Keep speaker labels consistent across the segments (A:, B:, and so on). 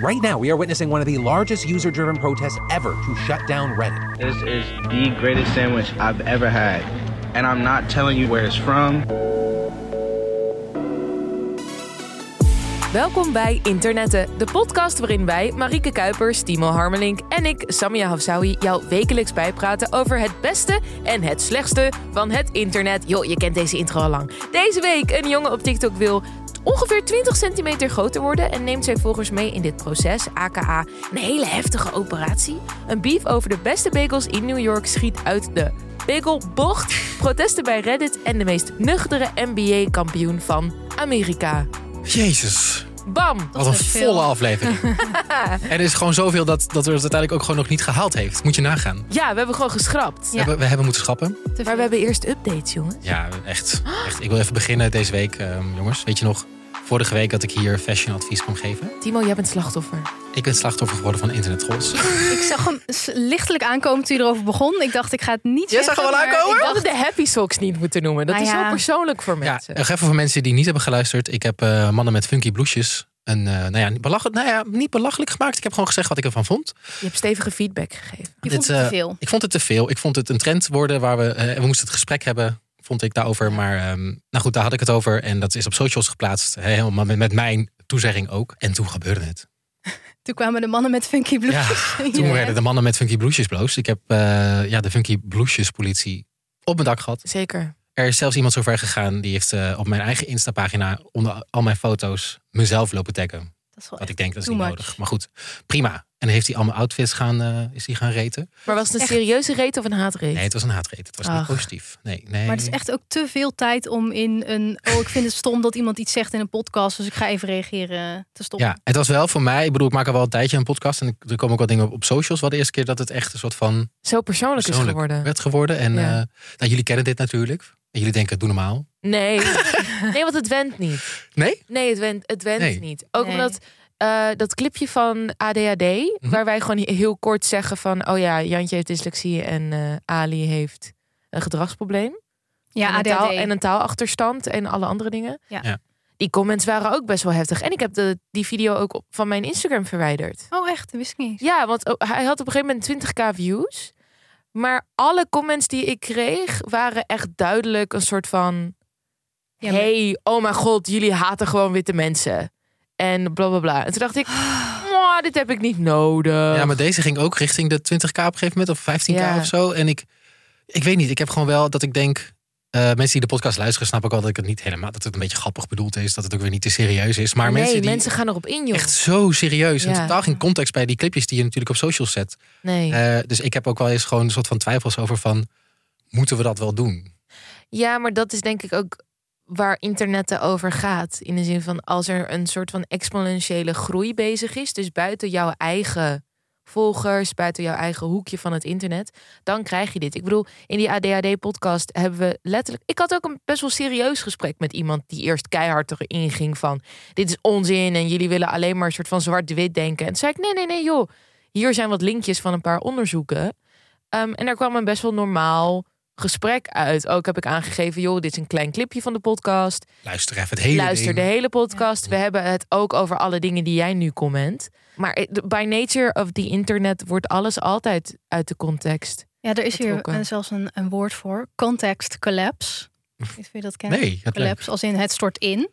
A: Right now, we are witnessing one of the largest user driven protests ever to shut down Reddit.
B: This is the greatest sandwich I've ever had. And I'm not telling you where it's from.
C: Welkom bij Internetten, de podcast waarin wij, Marieke Kuipers, Timo Harmelink en ik, Samia Hafsawi, jou wekelijks bijpraten over het beste en het slechtste van het internet. Joh, je kent deze intro al lang. Deze week een jongen op TikTok wil ongeveer 20 centimeter groter worden en neemt zijn volgers mee in dit proces, aka een hele heftige operatie. Een beef over de beste bagels in New York schiet uit de bagelbocht, protesten bij Reddit en de meest nuchtere NBA-kampioen van Amerika.
D: Jezus,
C: Bam!
D: wat een volle aflevering. en er is gewoon zoveel dat, dat er het uiteindelijk ook gewoon nog niet gehaald heeft. Moet je nagaan. We,
C: Ja, we hebben gewoon geschrapt.
E: Ja.
D: hebben, we hebben moeten schrappen.
C: Maar we hebben eerst updates, jongens.
D: Ja, echt. echt. Ik wil even beginnen deze week, ehm, jongens. Weet je nog, vorige week dat ik hier fashionadvies kwam geven?
C: Timo, jij bent slachtoffer.
D: Ik ben slachtoffer geworden van internettrolls.
E: Ik zag hem s- lichtelijk aankomen toen je erover begon. Ik dacht, ik ga het niet
D: Jij zag
E: zeggen,
D: hem wel
E: maar
D: aankomen?
E: Ik
C: We
E: dacht,
C: hadden de happy socks niet moeten noemen. Dat
E: Nou
C: is
E: ja.
C: zo persoonlijk voor
D: ja,
C: mensen.
D: nog even voor mensen die niet hebben geluisterd. Ik heb eh, mannen met funky bloesjes. Een, eh, nou, ja, belachelijk, nou ja, niet belachelijk gemaakt. Ik heb gewoon gezegd wat ik ervan vond.
C: Je hebt stevige feedback gegeven.
E: je vond
D: Dit,
E: het te
D: eh,
E: veel.
D: Ik vond het te veel. Ik vond het een trend worden waar we. eh, we moesten het gesprek hebben, vond ik daarover. Maar ehm, nou goed, daar had ik het over. En dat is op socials geplaatst. hè, Helemaal met, met mijn toezegging ook. En toen gebeurde het.
E: Toen kwamen de mannen met funky
D: Ja,
E: bloesjes.
D: toen werden de mannen met funky bloesjes bloos. Ik heb eh, ja, de funky bloesjes politie op mijn dak gehad.
C: Zeker.
D: Er is zelfs iemand zover gegaan. Die heeft eh, op mijn eigen Insta-pagina onder al mijn foto's mezelf lopen taggen.
E: Dat is wel
D: Wat
E: echt
D: ik denk, dat is
E: too
D: niet
E: much.
D: nodig. Maar goed, prima. En heeft hij al mijn outfits gaan, eh, is die gaan reten?
C: Maar was het een serieuze reet of een haatreet?
D: Nee, het was een haatreet. Het was niet
C: Ach.
D: positief. Nee, nee.
E: Maar het is echt ook te veel tijd om in een... Oh, ik vind het stom dat iemand iets zegt in een podcast. Dus ik ga even reageren te stoppen.
D: Ja, het was wel voor mij. Ik bedoel, ik maak al wel een tijdje een podcast. En ik- er komen ook wat dingen op, op socials. Wel de eerste keer dat het echt een soort van
C: Zo persoonlijk,
D: persoonlijk
C: is geworden.
D: werd geworden. En
C: Ja.
D: eh, nou, jullie kennen dit natuurlijk. En jullie denken, doe normaal.
C: Nee. nee, want het went niet.
D: Nee?
C: Nee, het went, het went
D: Nee.
C: niet. Ook
E: Nee.
C: omdat eh, dat clipje van ADHD,
D: Mhm.
C: waar wij gewoon heel kort zeggen van... oh ja, Jantje heeft dyslexie en eh, Ali heeft een gedragsprobleem.
E: Ja,
C: en, een
E: ADHD.
C: taal, en een taalachterstand en alle andere dingen.
E: Ja.
D: Ja.
C: Die comments waren ook best wel heftig. En ik heb de, die video ook op, van mijn Instagram verwijderd.
E: Oh, echt? Dat wist ik niet eens.
C: Ja, want oh, hij had op een gegeven moment 20k views. Maar alle comments die ik kreeg waren echt duidelijk een soort van...
E: Ja, maar-
C: hey, oh mijn god, jullie haten gewoon witte mensen. En bla bla bla. En toen dacht ik, "Mwah, dit heb ik niet nodig.
D: Ja, maar deze ging ook richting de 20k op een gegeven moment. Of 15k
C: Ja.
D: of zo. En ik, ik weet niet. Ik heb gewoon wel dat ik denk... eh, mensen die de podcast luisteren snappen ook wel dat ik het niet helemaal... dat het een beetje grappig bedoeld is. Dat het ook weer niet te serieus is. Maar
C: nee,
D: mensen
C: mensen,
D: die
C: gaan erop in, joh.
D: echt zo serieus... en
C: Ja.
D: totaal geen context bij die clipjes die je natuurlijk op socials zet...
C: Nee.
D: Eh, dus ik heb ook wel eens gewoon een soort van twijfels over van... moeten we dat wel doen?
C: Ja, maar dat is denk ik ook waar internetten over gaat. In de zin van als er een soort van exponentiële groei bezig is, dus buiten jouw eigen volgers, buiten jouw eigen hoekje van het internet, dan krijg je dit. Ik bedoel, in die ADHD-podcast hebben we letterlijk... Ik had ook een best wel serieus gesprek met iemand die eerst keihard erin ging van... dit is onzin en jullie willen alleen maar een soort van zwart-wit denken. En toen zei ik, nee, nee, nee, joh. Hier zijn wat linkjes van een paar onderzoeken. Ehm, en daar kwam een best wel normaal gesprek uit. Ook heb ik aangegeven, joh, dit is een klein clipje van de podcast.
D: Luister even het hele
C: Luister
D: ding.
C: de hele podcast. We hebben het ook over alle dingen die jij nu comment. Maar eh, by nature of the internet wordt alles altijd uit de context.
E: Ja, er is hier
C: Betrokken.
E: eh, zelfs een, een woord voor. Context collapse. Ik weet niet of je dat kent.
D: Nee, het leuk.
E: Collapse, als in het stort in.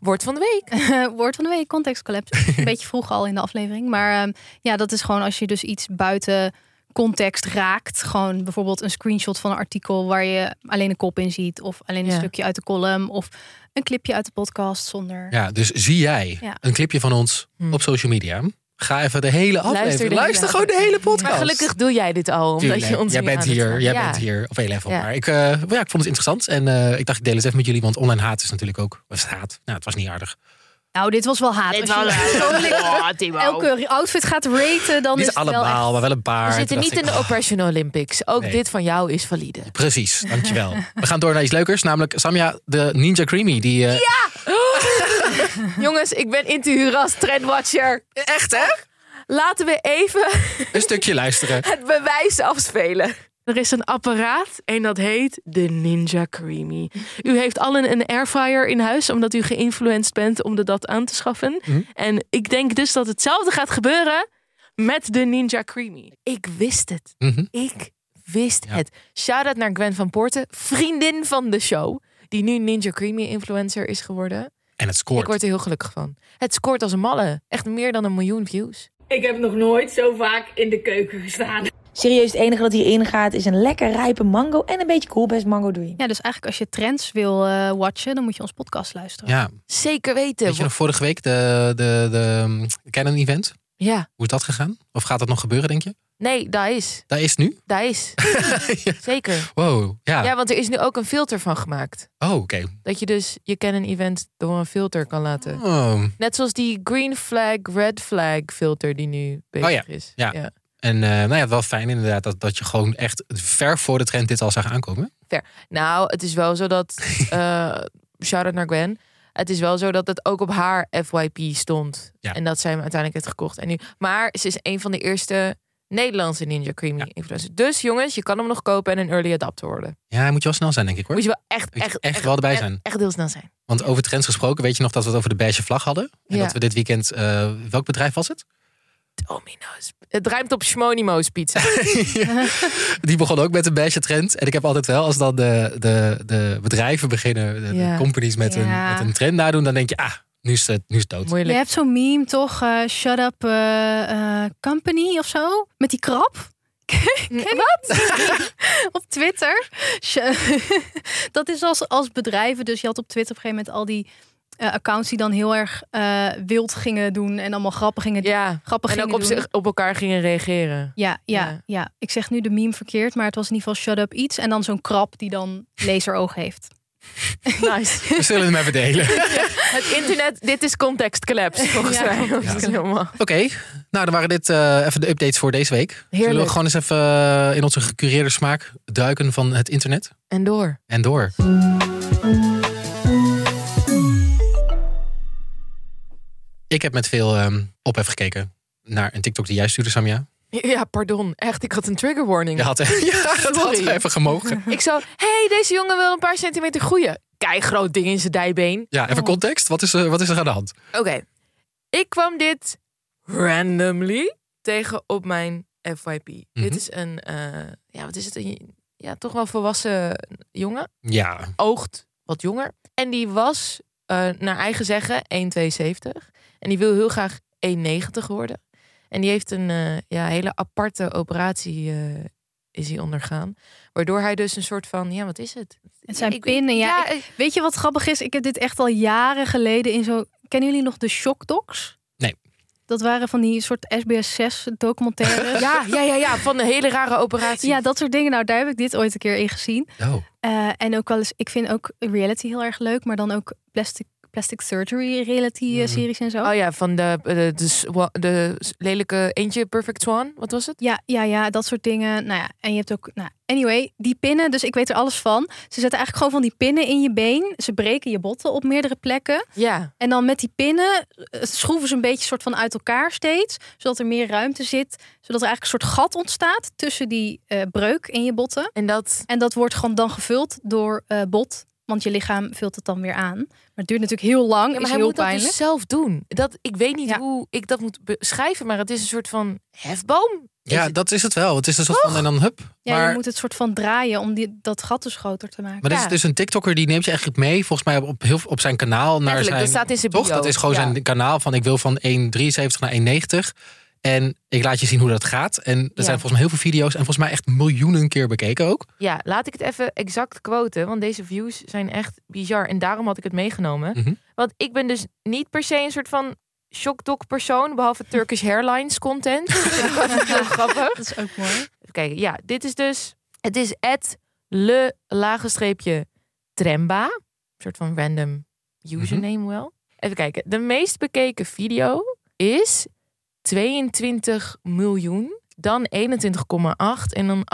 C: Woord van de week.
E: Woord van de week, context collapse. Een beetje vroeg al in de aflevering. Maar ehm, ja, dat is gewoon als je dus iets buiten context raakt. Gewoon bijvoorbeeld een screenshot van een artikel waar je alleen een kop in ziet. Of alleen een
C: Ja.
E: stukje uit de column. Of een clipje uit de podcast zonder...
D: Ja, dus zie jij
E: Ja.
D: een clipje van ons
C: Hm.
D: op social media... ga even de hele aflevering... Luister,
C: de hele
D: gewoon de hele podcast.
C: Maar gelukkig doe jij dit al, omdat
D: Tuurlijk,
C: je ons
D: jij
C: nu
D: bent
C: aan het
D: hier,
C: maken-
D: jij
C: Ja.
D: bent hier op heel level.
C: Ja.
D: Maar ik, eh, ja, ik vond het interessant en eh, ik dacht ik deel het even met jullie, want online haat is natuurlijk ook of haat. Nou, het was niet aardig.
E: Nou, dit was wel haat.
C: Dit
E: Als je
C: was
E: persoonlijk
C: Oh, Timo.
E: elke outfit gaat raten, dan
D: niet
E: is het wel
D: allemaal,
E: echt...
D: maar wel een paar.
C: We
D: Toen
C: zitten
D: dacht
C: niet
D: ik,
C: in de
D: oh,
C: Oppression Olympics. Ook
D: Nee.
C: dit van jou is valide.
D: Precies, dankjewel. We gaan door naar iets leukers, namelijk Samja de Ninja Creamy. Die, eh,
C: Jongens, ik ben into Huras Trendwatcher.
D: Echt hè?
C: Laten we even
D: Een stukje luisteren.
C: het bewijs afspelen.
F: Er is een apparaat en dat heet de Ninja Creamy. U heeft allen een airfryer in huis, omdat u geïnfluenced bent om de dat aan te schaffen.
D: Mhm.
F: En ik denk dus dat hetzelfde gaat gebeuren met de Ninja Creamy.
C: Ik wist het.
D: Mhm.
C: Ik wist
D: Ja.
C: het. Shout-out naar Gwen van Poorten, vriendin van de show. Die nu Ninja Creamy influencer is geworden.
D: En het
C: Ik
D: scoort.
C: word er heel gelukkig van. Het scoort als een malle. Echt meer dan een miljoen views.
G: Ik heb nog nooit zo vaak in de keuken gestaan.
H: Serieus, het enige dat hierin gaat is een lekker rijpe mango en een beetje koelbest mango doei.
E: Ja, dus eigenlijk als je trends wil eh, watchen, dan moet je ons podcast luisteren.
D: Ja,
C: Zeker weten.
D: weet je nog vorige week de, de, de mm, Canon Event?
C: Ja.
D: Hoe is dat gegaan? Of gaat dat nog gebeuren, denk je?
C: Nee, daar is.
D: Daar is het nu.
C: Daar is. Zeker.
D: Wow, ja.
C: Ja, want er is nu ook een filter van gemaakt.
D: Oh, oké.
C: Dat je dus je Canon event door een filter kan laten.
D: Oh.
C: Net zoals die green flag, red flag filter die nu bezig
D: Oh ja,
C: is.
D: ja. En eh, nou ja, wel fijn inderdaad dat, dat je gewoon echt ver voor de trend dit al zag aankomen.
C: Nou, het is wel zo dat. eh shout out naar Gwen. Het is wel zo dat het ook op haar FYP stond.
D: Ja.
C: En dat zij hem uiteindelijk heeft gekocht. En nu, maar ze is een van de eerste Nederlandse Ninja Creamy
D: Ja.
C: influencers. Dus jongens, je kan hem nog kopen en een early adapter worden.
D: Ja, moet je wel snel zijn, denk ik hoor.
C: Moet je wel echt,
D: Moet je
C: echt,
D: echt wel erbij
C: echt-
D: zijn.
C: Echt heel snel zijn.
D: Want over trends gesproken, weet je nog dat we het over de beige vlag hadden? En
C: Ja.
D: dat we dit weekend, eh, welk bedrijf was het?
C: Domino's. Het ruimt op Schmonimo's pizza.
D: Die begon ook met de beige trend. En ik heb altijd wel, als dan de, de, de bedrijven beginnen, de, de
C: Ja.
D: companies met,
E: Ja.
D: een, met een trend nadoen, dan denk je, ah, nu is het, nu is het dood.
E: Je
C: Moeilijk.
E: hebt zo'n meme toch, eh, Shut Up eh, eh, Company of zo? Met die krab?
C: Mm,
E: Wat? op Twitter. Sh- dat is als, als bedrijven. Dus je had op Twitter op een gegeven moment al die eh, accounts die dan heel erg eh, wild gingen doen. En allemaal grappen gingen doen.
C: Ja.
E: Grappig
C: En ook op, zich- op elkaar gingen reageren.
E: Ja, ja,
C: Ja.
E: ja, Ik zeg nu de meme verkeerd, maar het was in ieder geval Shut Up iets. En dan zo'n krab die dan laseroog heeft.
C: Nice.
D: We zullen hem even delen.
C: Het internet, dit is context collapse volgens
E: Ja.
C: mij.
E: Ja.
C: Dat is helemaal-
D: Oké, nou dan waren dit eh, even de updates voor deze week. Zullen we
C: Heerlijk.
D: gewoon eens even eh, in onze gecureerde smaak duiken van het internet?
C: En door.
D: En door. Ik heb met veel ehm, ophef gekeken naar een TikTok die jij stuurde, Samia.
C: Ja, pardon. Echt, ik had een trigger warning.
D: Je had, ja, dat had
C: Sorry.
D: even gemogen.
C: Ik zo, hey, deze jongen wil een paar centimeter groeien. Kei groot ding in zijn dijbeen.
D: Ja, even context. Wat is, er, wat is er aan de hand?
C: Oké. Ik kwam dit randomly tegen op mijn FYP. Dit is een, eh, ja, wat is het? Een, ja, toch wel volwassen jongen.
D: Ja,
C: oogt wat jonger. En die was, eh, naar eigen zeggen, 1,72. En die wil heel graag 1,90 worden. En die heeft een eh, ja, hele aparte operatie eh, is hij ondergaan. Waardoor hij dus een soort van, ja, wat is het?
E: Het zijn
C: Ik-
E: pinnen, ja.
C: Ja,
E: Ik- weet je wat grappig is? Ik heb dit echt al jaren geleden in zo... Kennen jullie nog de Shock Docs?
D: Nee.
E: Dat waren van die soort SBS6 documentaires.
C: ja, ja, ja, ja, van een hele rare operatie.
E: ja, dat soort dingen. Nou, daar heb ik dit ooit een keer in gezien.
D: oh,
E: Eh, en ook wel eens, ik vind ook reality heel erg leuk, maar dan ook plastic, plastic surgery reality eh,
D: Mm.
E: series en zo.
C: Oh ja, van de, de, de, swa- de lelijke eentje Perfect Swan. Wat was het?
E: Ja, ja, ja, dat soort dingen. Nou ja, en je hebt ook, nou, anyway, die pinnen, dus ik weet er alles van. Ze zetten eigenlijk gewoon van die pinnen in je been. Ze breken je botten op meerdere plekken.
C: Ja,
E: En dan met die pinnen eh, schroeven ze een beetje soort van uit elkaar steeds. Zodat er meer ruimte zit. Zodat er eigenlijk een soort gat ontstaat tussen die eh, breuk in je botten.
C: en dat...
E: En dat wordt gewoon dan gevuld door eh, bot. Want je lichaam vult het dan weer aan. Maar het duurt natuurlijk heel lang.
C: Ja,
E: is
C: maar hij
E: heel
C: moet
E: pijnlijk.
C: dat dus zelf doen. Dat, ik weet niet
E: Ja.
C: hoe ik dat moet beschrijven, maar het is een soort van hefboom. Is Oh.
D: ja
C: het?
D: dat is het wel. Het is een soort van en dan hup.
E: Ja,
D: maar
E: je moet het soort van draaien om die, dat gat dus groter te maken.
D: maar dit
C: ja.
D: is dus een TikToker die neemt je eigenlijk mee, volgens mij op, op, heel, op zijn kanaal. Naar
C: Letterlijk,
D: zijn,
C: dat staat in zijn
D: Toch?
C: bio.
D: Dat is gewoon
C: Ja.
D: zijn kanaal van ik wil van 1,73 naar 1,90. En ik laat je zien hoe dat gaat. En er
C: Ja.
D: zijn volgens mij heel veel video's. En volgens mij echt miljoenen keer bekeken ook.
C: Ja, laat ik het even exact quoten, want deze views zijn echt bizar. En daarom had ik het meegenomen.
D: Mhm.
C: Want ik ben dus niet per se een soort van shockdoc persoon, behalve Turkish Airlines content. Dat vind ik heel grappig.
E: Dat is ook mooi.
C: Even kijken, ja, dit is dus, het is at le lage streepje tremba. Een soort van random username
D: Mhm.
C: wel. Even kijken, de meest bekeken video is 22 miljoen Dan 21,8 en dan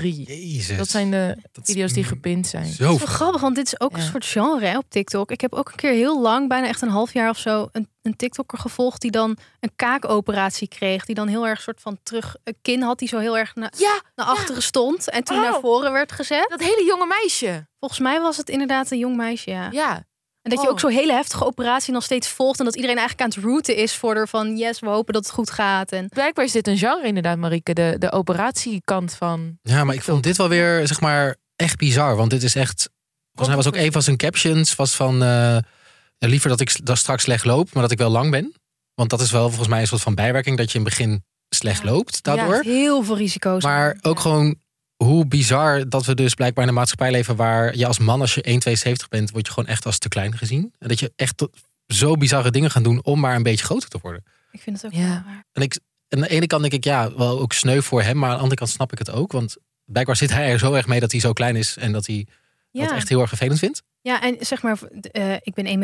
C: 18,3.
D: Jezus.
C: Dat zijn de
D: Dat is
C: video's die gepind zijn.
E: Het
D: Zo
E: is wel grappig, want dit is ook
C: Ja.
E: een soort genre hè, op TikTok. Ik heb ook een keer heel lang, bijna echt een half jaar of zo, een, een TikToker gevolgd die dan een kaakoperatie kreeg. Die dan heel erg soort van terug een kin had, die zo heel erg na-
C: Ja,
E: naar achteren stond en toen
C: Oh.
E: naar voren werd gezet.
C: dat hele jonge meisje.
E: Volgens mij was het inderdaad een jong meisje, ja.
C: Ja.
E: En dat je
C: Oh.
E: ook zo'n hele heftige operatie nog steeds volgt en dat iedereen eigenlijk aan het routen is voor er van yes, we hopen dat het goed gaat. En
C: Blijkbaar is dit een genre inderdaad, Marieke. De, de operatiekant van...
D: Ja, maar ik vond dit wel weer, zeg maar, echt bizar. Want dit is echt. Volgens mij was ook een van zijn captions was van. eh, ja, liever dat ik s- dat straks slecht loop, maar dat ik wel lang ben. Want dat is wel volgens mij een soort van bijwerking dat je in het begin slecht loopt daardoor.
E: heel veel risico's.
D: maar ook gewoon hoe bizar dat we dus blijkbaar in een maatschappij leven waar je als man, als je 1,72 bent, word je gewoon echt als te klein gezien. En dat je echt tot- zo bizarre dingen gaat doen om maar een beetje groter te worden.
E: Ik vind het ook
C: Ja.
E: wel waar.
D: En ik, aan de ene kant denk ik, ja, wel ook sneu voor hem. Maar aan de andere kant snap ik het ook. Want blijkbaar zit hij er zo erg mee dat hij zo klein is. En dat hij dat
E: Ja.
D: echt heel erg vervelend vindt.
E: Ja, en zeg maar, eh, ik ben 1,60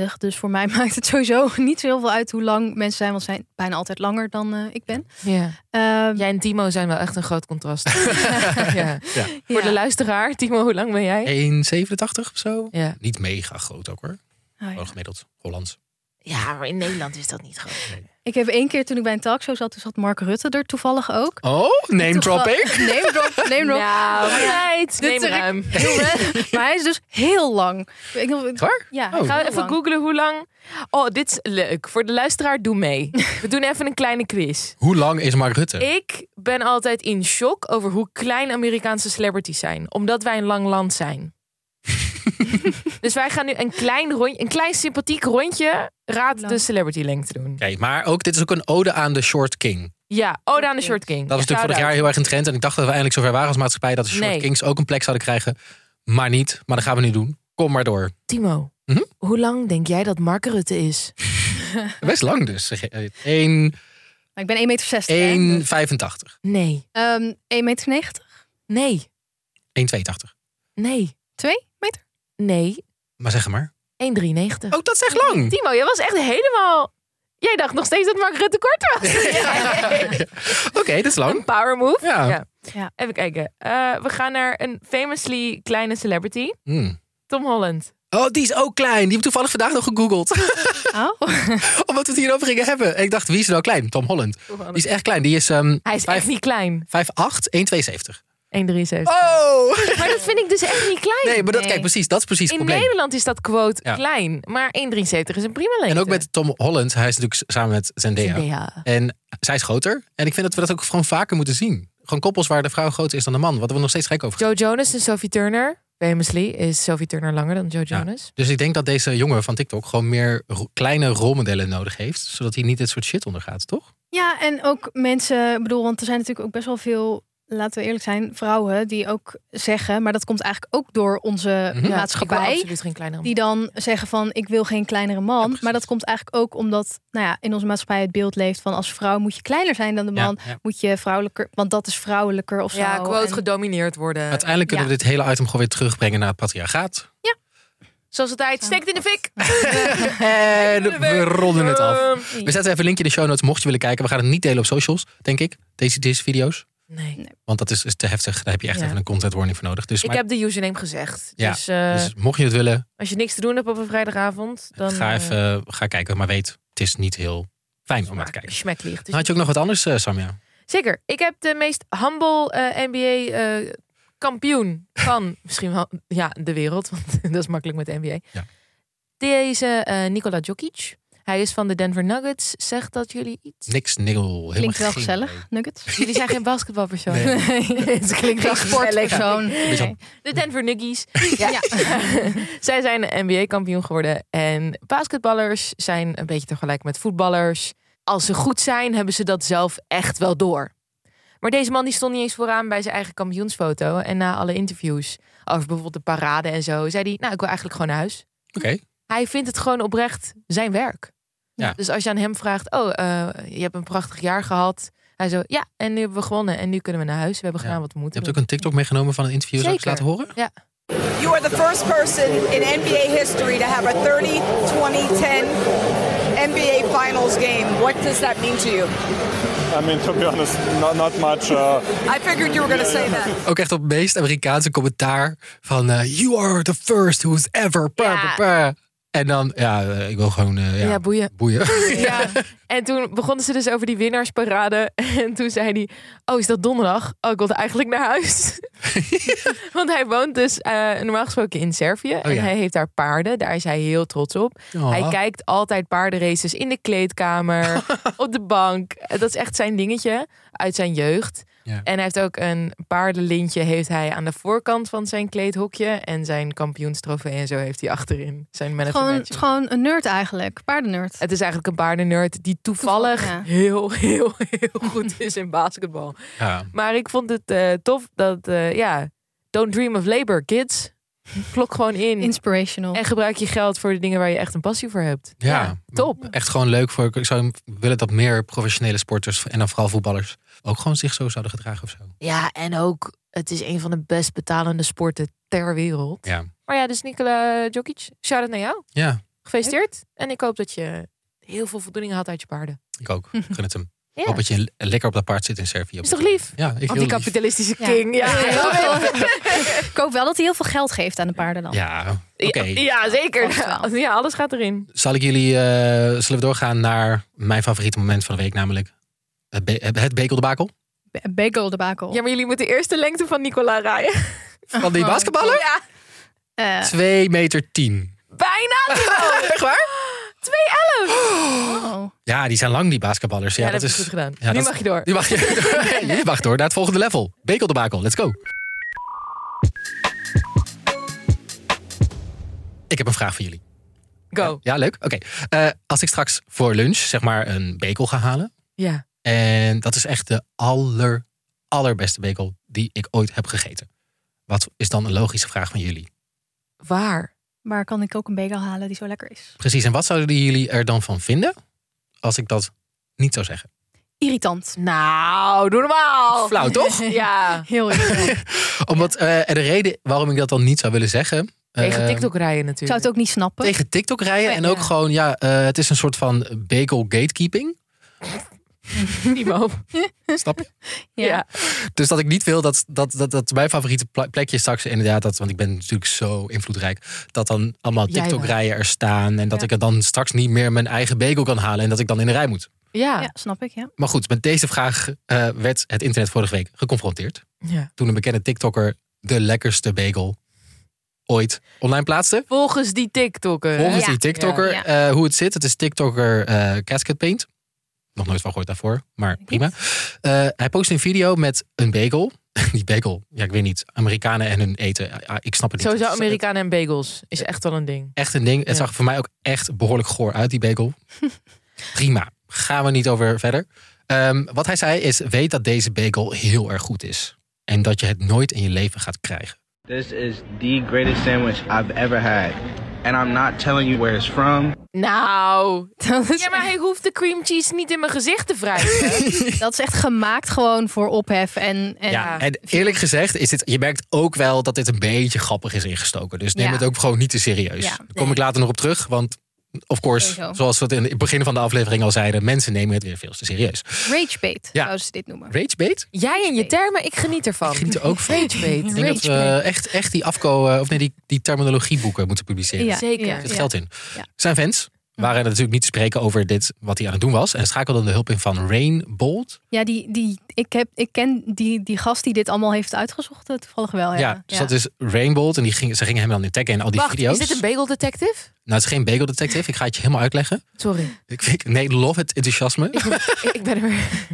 E: meter, dus voor mij maakt het sowieso niet zo heel veel uit hoe lang mensen zijn, want ze zijn bijna altijd langer dan eh, ik ben.
C: Ja.
E: Ehm,
C: Jij en Timo zijn wel echt een groot contrast. ja. Voor de
E: ja.
C: luisteraar, Timo, hoe lang ben jij?
D: 1,87 of zo.
C: Ja.
D: Niet mega groot ook hoor.
E: Oh, ja.
D: Gewoon gemiddeld Hollands.
C: ja, maar in Nederland is dat niet groot.
E: Ik heb één keer toen ik bij een talkshow zat, toen zat Mark Rutte er toevallig ook.
D: Oh, name dropping.
E: Name drop, name drop.
C: Nou, meid,
E: Dit
C: neem
E: trek-
C: ruim.
E: Heel erg. maar hij is dus heel lang. Ik,
D: Waar?
E: ja,
D: Oh.
C: Ga
E: heel
C: even
E: lang.
C: googlen hoe lang... Oh, dit is leuk. Voor de luisteraar, doe mee. We doen even een kleine quiz.
D: Hoe lang is Mark Rutte?
C: Ik ben altijd in shock over hoe klein Amerikaanse celebrities zijn. Omdat wij een lang land zijn. dus wij gaan nu een klein, rond, een klein sympathiek rondje raad
E: Lang.
C: de celebrity lengte doen.
D: Oké, maar ook, dit is ook een ode aan de short king.
C: Ja, Oda aan de Short King.
D: Dat was natuurlijk vorig jaar heel erg een trend. En ik dacht dat we eindelijk zover waren als maatschappij... dat de short
C: Nee.
D: kings ook een plek zouden krijgen. Maar niet. Maar dat gaan we nu doen. Kom maar door.
C: Timo,
D: Mhm.
C: hoe lang denk jij dat Mark Rutte is?
D: Best lang dus. 1...
E: Maar ik ben 1,60 meter. 1,90
D: 1,85.
C: Nee,
E: meter. 90.
C: nee,
D: 1,82.
C: nee,
E: 2 meter?
C: nee.
D: Maar zeg maar.
C: 1,93.
D: Ook Oh, dat is echt lang.
C: Timo, jij was echt helemaal... Jij dacht nog steeds dat Mark Rutte kort was.
D: Oké, dat is
C: Een
D: lang.
C: power move.
D: Ja.
E: Ja.
C: Even kijken. Eh, we gaan naar een famously kleine celebrity.
D: Hmm.
C: Tom Holland.
D: Oh, die is ook klein. Die heb ik toevallig vandaag nog gegoogeld.
E: Oh.
D: Omdat we het hierover gingen hebben. En ik dacht, wie is er nou klein? Tom Holland. Die is echt klein. Die is ehm 5'8,
C: Hij is echt niet klein.
D: 1,72.
C: 1,73.
D: Oh!
C: Maar dat vind ik dus echt niet klein.
D: Nee, maar dat,
E: Nee.
D: kijk, precies. Dat is precies
C: In
D: het probleem.
C: Nederland is dat quote
D: Ja.
C: klein. Maar 1,73 is een prima lengte.
D: En ook met Tom Holland. Hij is natuurlijk samen met Zendaya.
C: Ja.
D: En zij is groter. En ik vind dat we dat ook gewoon vaker moeten zien. Gewoon koppels waar de vrouw groter is dan de man. Wat we nog steeds gek over
C: Joe Jonas en Sophie Turner. Famously is Sophie Turner langer dan Joe Jonas.
D: Dus ik denk dat deze jongen van TikTok gewoon meer ro- kleine rolmodellen nodig heeft. Zodat hij niet dit soort shit ondergaat, toch?
E: Ja, en ook mensen, ik bedoel, want er zijn natuurlijk ook best wel veel, laten we eerlijk zijn, vrouwen die ook zeggen, maar dat komt eigenlijk ook door onze
D: Mhm.
C: Ja, Ik wil
E: maatschappij.
C: absoluut geen kleinere man.
E: Die dan zeggen van ik wil geen kleinere man.
D: precies.
E: maar dat komt eigenlijk ook omdat nou ja, in onze maatschappij het beeld leeft van als vrouw moet je kleiner zijn dan de
D: Ja,
E: man.
D: ja.
E: Moet je vrouwelijker, want dat is vrouwelijker of zo.
C: Ja, quote
E: En-
C: gedomineerd worden.
D: Uiteindelijk kunnen we dit hele item gewoon weer terugbrengen naar het patriarchaat.
C: Zoals altijd, steekt in de fik.
D: En we ronden het af.
C: Ehm,
D: We zetten even een linkje in de show notes, mocht je willen kijken. We gaan het niet delen op socials, denk ik. Deze, deze video's.
C: Nee.
D: Want dat is, is te heftig. Daar heb je echt
C: Ja.
D: even een content warning voor nodig. Dus,
C: Ik
D: maar-
C: heb de username gezegd.
D: Ja,
C: Dus, eh,
D: dus mocht je het willen,
C: als je niks te doen hebt op een vrijdagavond, dan eh,
D: ga even eh, ga kijken. Maar weet, het is niet heel fijn om naar te kijken.
C: Smack ligt.
D: Dan had je ook nog wat anders, eh, Sam? Ja.
C: Zeker. Ik heb de meest humble eh, NBA eh, kampioen van misschien wel ja, de wereld. Want dat is makkelijk met de NBA.
D: Ja.
C: Deze eh Nikola Jokic. Hij is van de Denver Nuggets. Zegt dat jullie iets?
D: Niks, nil.
E: Klinkt wel gezellig, nuggets.
C: Jullie zijn geen basketbalpersoon.
D: Nee.
C: Het klinkt wel
E: Geen sportpersoon.
D: Beetje-
C: De Denver Nuggies.
E: Ja.
C: Zij zijn NBA-kampioen geworden. En basketballers zijn een beetje tegelijk met voetballers. Als ze goed zijn, hebben ze dat zelf echt wel door. Maar deze man die stond niet eens vooraan bij zijn eigen kampioensfoto. En na alle interviews over bijvoorbeeld de parade en zo, zei hij: Nou, ik wil eigenlijk gewoon naar huis.
D: Oké.
C: Hij vindt het gewoon oprecht zijn werk.
D: Ja.
C: Dus als je aan hem vraagt: Oh, eh, je hebt een prachtig jaar gehad. Hij zo: Ja, en nu hebben we gewonnen. En nu kunnen we naar huis. We hebben gedaan
D: Ja.
C: wat we
D: Je
C: moeten.
D: hebt ook een TikTok meegenomen van een interview. Zou ik het
C: Zeker.
D: laten horen?
C: Ja.
I: You are the first person in NBA history to have a 30, 20, 10 NBA Finals game. What does that mean to you?
J: I mean, to be honest, not, not much. Uh,
I: I figured you were going to say that.
D: Ook echt op het meest Amerikaanse commentaar van... eh, you are the first who's ever... pa,
C: Ja.
D: pa, pa." En dan, ja, eh, ik wil gewoon... eh, ja,
C: Ja, boeien.
D: boeien.
C: Ja. En toen begonnen ze dus over die winnaarsparade. En toen zei hij: Oh, is dat donderdag? Oh, ik wilde eigenlijk naar huis. Want hij woont dus eh, normaal gesproken in Servië. en
D: Oh, ja.
C: hij heeft daar paarden. Daar is hij heel trots op.
D: Oh.
C: Hij kijkt altijd paardenraces in de kleedkamer, op de bank. Eh, Dat is echt zijn dingetje uit zijn jeugd.
D: Ja.
C: En hij heeft ook een paardenlintje heeft hij aan de voorkant van zijn kleedhokje. En zijn kampioenstrofee en zo heeft hij achterin. Zijn man of the
E: Gewoon,
C: match.
E: gewoon een nerd eigenlijk. Paardennerd.
C: Het is eigenlijk een paardennerd die toevallig
E: Toevallig,
C: heel, heel, heel goed is in basketbal.
D: Ja.
C: Maar ik vond het eh, tof dat, eh, ja, don't dream of labor, kids. Klok gewoon in.
E: Inspirational.
C: en gebruik je geld voor de dingen waar je echt een passie voor hebt.
D: Ja.
C: top.
D: Echt gewoon leuk voor... Ik zou willen dat meer professionele sporters... en dan vooral voetballers... ook gewoon zich zo zouden gedragen of zo.
C: Ja, en ook, het is een van de best betalende sporten ter wereld.
D: Ja.
C: Maar ja, dus Nikola Djokic, shout-out naar jou.
D: Ja,
C: Gefeliciteerd. En ik hoop dat je heel veel voldoening had uit je paarden.
D: ik ook. Ik Gun het hem.
C: Ja.
D: Ik hoop dat je le- lekker op dat paard zit in Servië.
C: Is toch lief?
D: Ja, ik heel lief.
C: Anticapitalistische
E: Ja.
C: king. Ja,
E: Heel veel- ik hoop wel dat hij heel veel geld geeft aan de paarden dan.
D: Ja, oké.
C: Ja, ja, zeker.
E: Vast wel.
C: Ja, alles gaat erin.
D: Zal ik jullie, eh, zullen we doorgaan naar mijn favoriete moment van de week, namelijk het, be het bekeldebakel
E: Ba- Bagel debakel.
C: Ja, maar jullie moeten eerst de lengte van Nicola rijden.
D: van
C: Oh,
D: die basketballer?
C: Ja,
D: 2 meter 10.
C: bijna. Echt waar? 211.
E: Oh.
D: Ja, die zijn lang, die basketballers. Ja,
C: Ja,
D: dat,
C: dat heb
D: is
C: je goed gedaan.
D: ja,
C: Nu
D: dat-
C: mag je door.
D: Nu mag je, je mag door naar het volgende level. Bekeldebakel, let's go. Ik heb een vraag voor jullie.
C: Go.
D: Ja, leuk. Oké. Eh, als ik straks voor lunch zeg maar een bekel ga halen,
C: Ja.
D: En dat is echt de aller, allerbeste bekel die ik ooit heb gegeten. Wat is dan een logische vraag van jullie?
C: Waar?
E: Maar kan ik ook een bagel halen die zo lekker is?
D: Precies, en wat zouden jullie er dan van vinden als ik dat niet zou zeggen?
E: Irritant.
C: Nou, doe normaal.
D: Flauw, toch?
C: Ja.
E: Heel irritant.
D: Omdat, eh, en de reden waarom ik dat dan niet zou willen zeggen...
C: Tegen
D: eh,
C: TikTok rijden
E: Ik zou
C: natuurlijk.
E: het ook niet snappen.
D: Tegen TikTok rijden
C: Nee,
D: en ook
C: ja.
D: gewoon, ja, eh, het is een soort van bagel gatekeeping.
C: Timo.
D: Snap je?
C: Ja.
D: Dus dat ik niet wil dat, dat, dat, dat mijn favoriete pla- plekje straks inderdaad, dat, want ik ben natuurlijk zo invloedrijk, dat dan allemaal
C: Jij wel.
D: TikTok-rijen er staan en dat ik er dan straks niet meer mijn eigen bagel kan halen en dat ik dan in de rij moet.
E: Ja,
C: Ja.
E: snap ik. Ja.
D: Maar goed, met deze vraag eh, werd het internet vorige week geconfronteerd.
C: ja.
D: Toen een bekende TikToker de lekkerste bagel ooit online plaatste.
C: Volgens die TikToker.
D: Volgens
E: Ja.
D: die TikToker,
E: Ja.
D: eh, hoe het zit. Het is TikToker eh, Casket Paint. Nog nooit van gehoord daarvoor, maar prima. Eh, hij postte een video met een bagel. Die bagel, ja, ik weet niet. Amerikanen en hun eten. Ja, ik snap het niet.
C: Sowieso
D: Het is
C: Amerikanen en bagels is echt wel een ding.
D: Echt een ding. Het
C: Ja.
D: zag voor mij ook echt behoorlijk goor uit, die bagel. prima. Gaan we niet over verder. Ehm, wat hij zei is, weet dat deze bagel heel erg goed is. En dat je het nooit in je leven gaat krijgen.
B: This is the greatest sandwich I've ever had. And I'm not telling you where it's from.
C: Nou.
E: Dat, is,
C: Ja, maar hij hoeft de cream cheese niet in mijn gezicht te wrijven.
E: dat is echt gemaakt gewoon voor ophef. En, en
D: Ja, en eerlijk gezegd is dit, je merkt ook wel dat dit een beetje grappig is ingestoken. Dus neem
E: Ja.
D: het ook gewoon niet te serieus.
E: Ja.
D: Daar kom ik later nog op terug, want of course,
E: Sowieso.
D: zoals we het in het begin van de aflevering al zeiden, mensen nemen het weer veel te serieus.
E: ragebait
D: Ja.
E: zouden ze dit noemen.
D: Ragebait?
C: Jij en je termen, ik geniet ervan.
D: Ik geniet er ook van. Ik
C: Ragebait.
D: denk dat eh, we
E: Ragebait.
D: echt, echt die afko, eh, of nee, die, die terminologieboeken moeten publiceren.
E: Ja,
D: Er
C: Zeker.
E: ja,
D: zit
E: ja.
D: geld in.
E: Ja.
D: Zijn fans waren natuurlijk niet te spreken over dit, wat hij aan het doen was. En hij schakelde de hulp in van Rain Bolt.
E: Ja, die, die, ik, heb, ik ken die, die gast die dit allemaal heeft uitgezocht eh, toevallig wel. Ja,
D: Ja, dus dat is Rain Bolt. En die ging, ze gingen hem dan intacken in al die
C: Wacht,
D: video's.
C: is dit een bagel detective?
D: Nou, het is geen bagel detective. Ik ga het je helemaal uitleggen.
C: Sorry,
D: Ik vind, nee, love het enthousiasme.
C: ik ben er weer.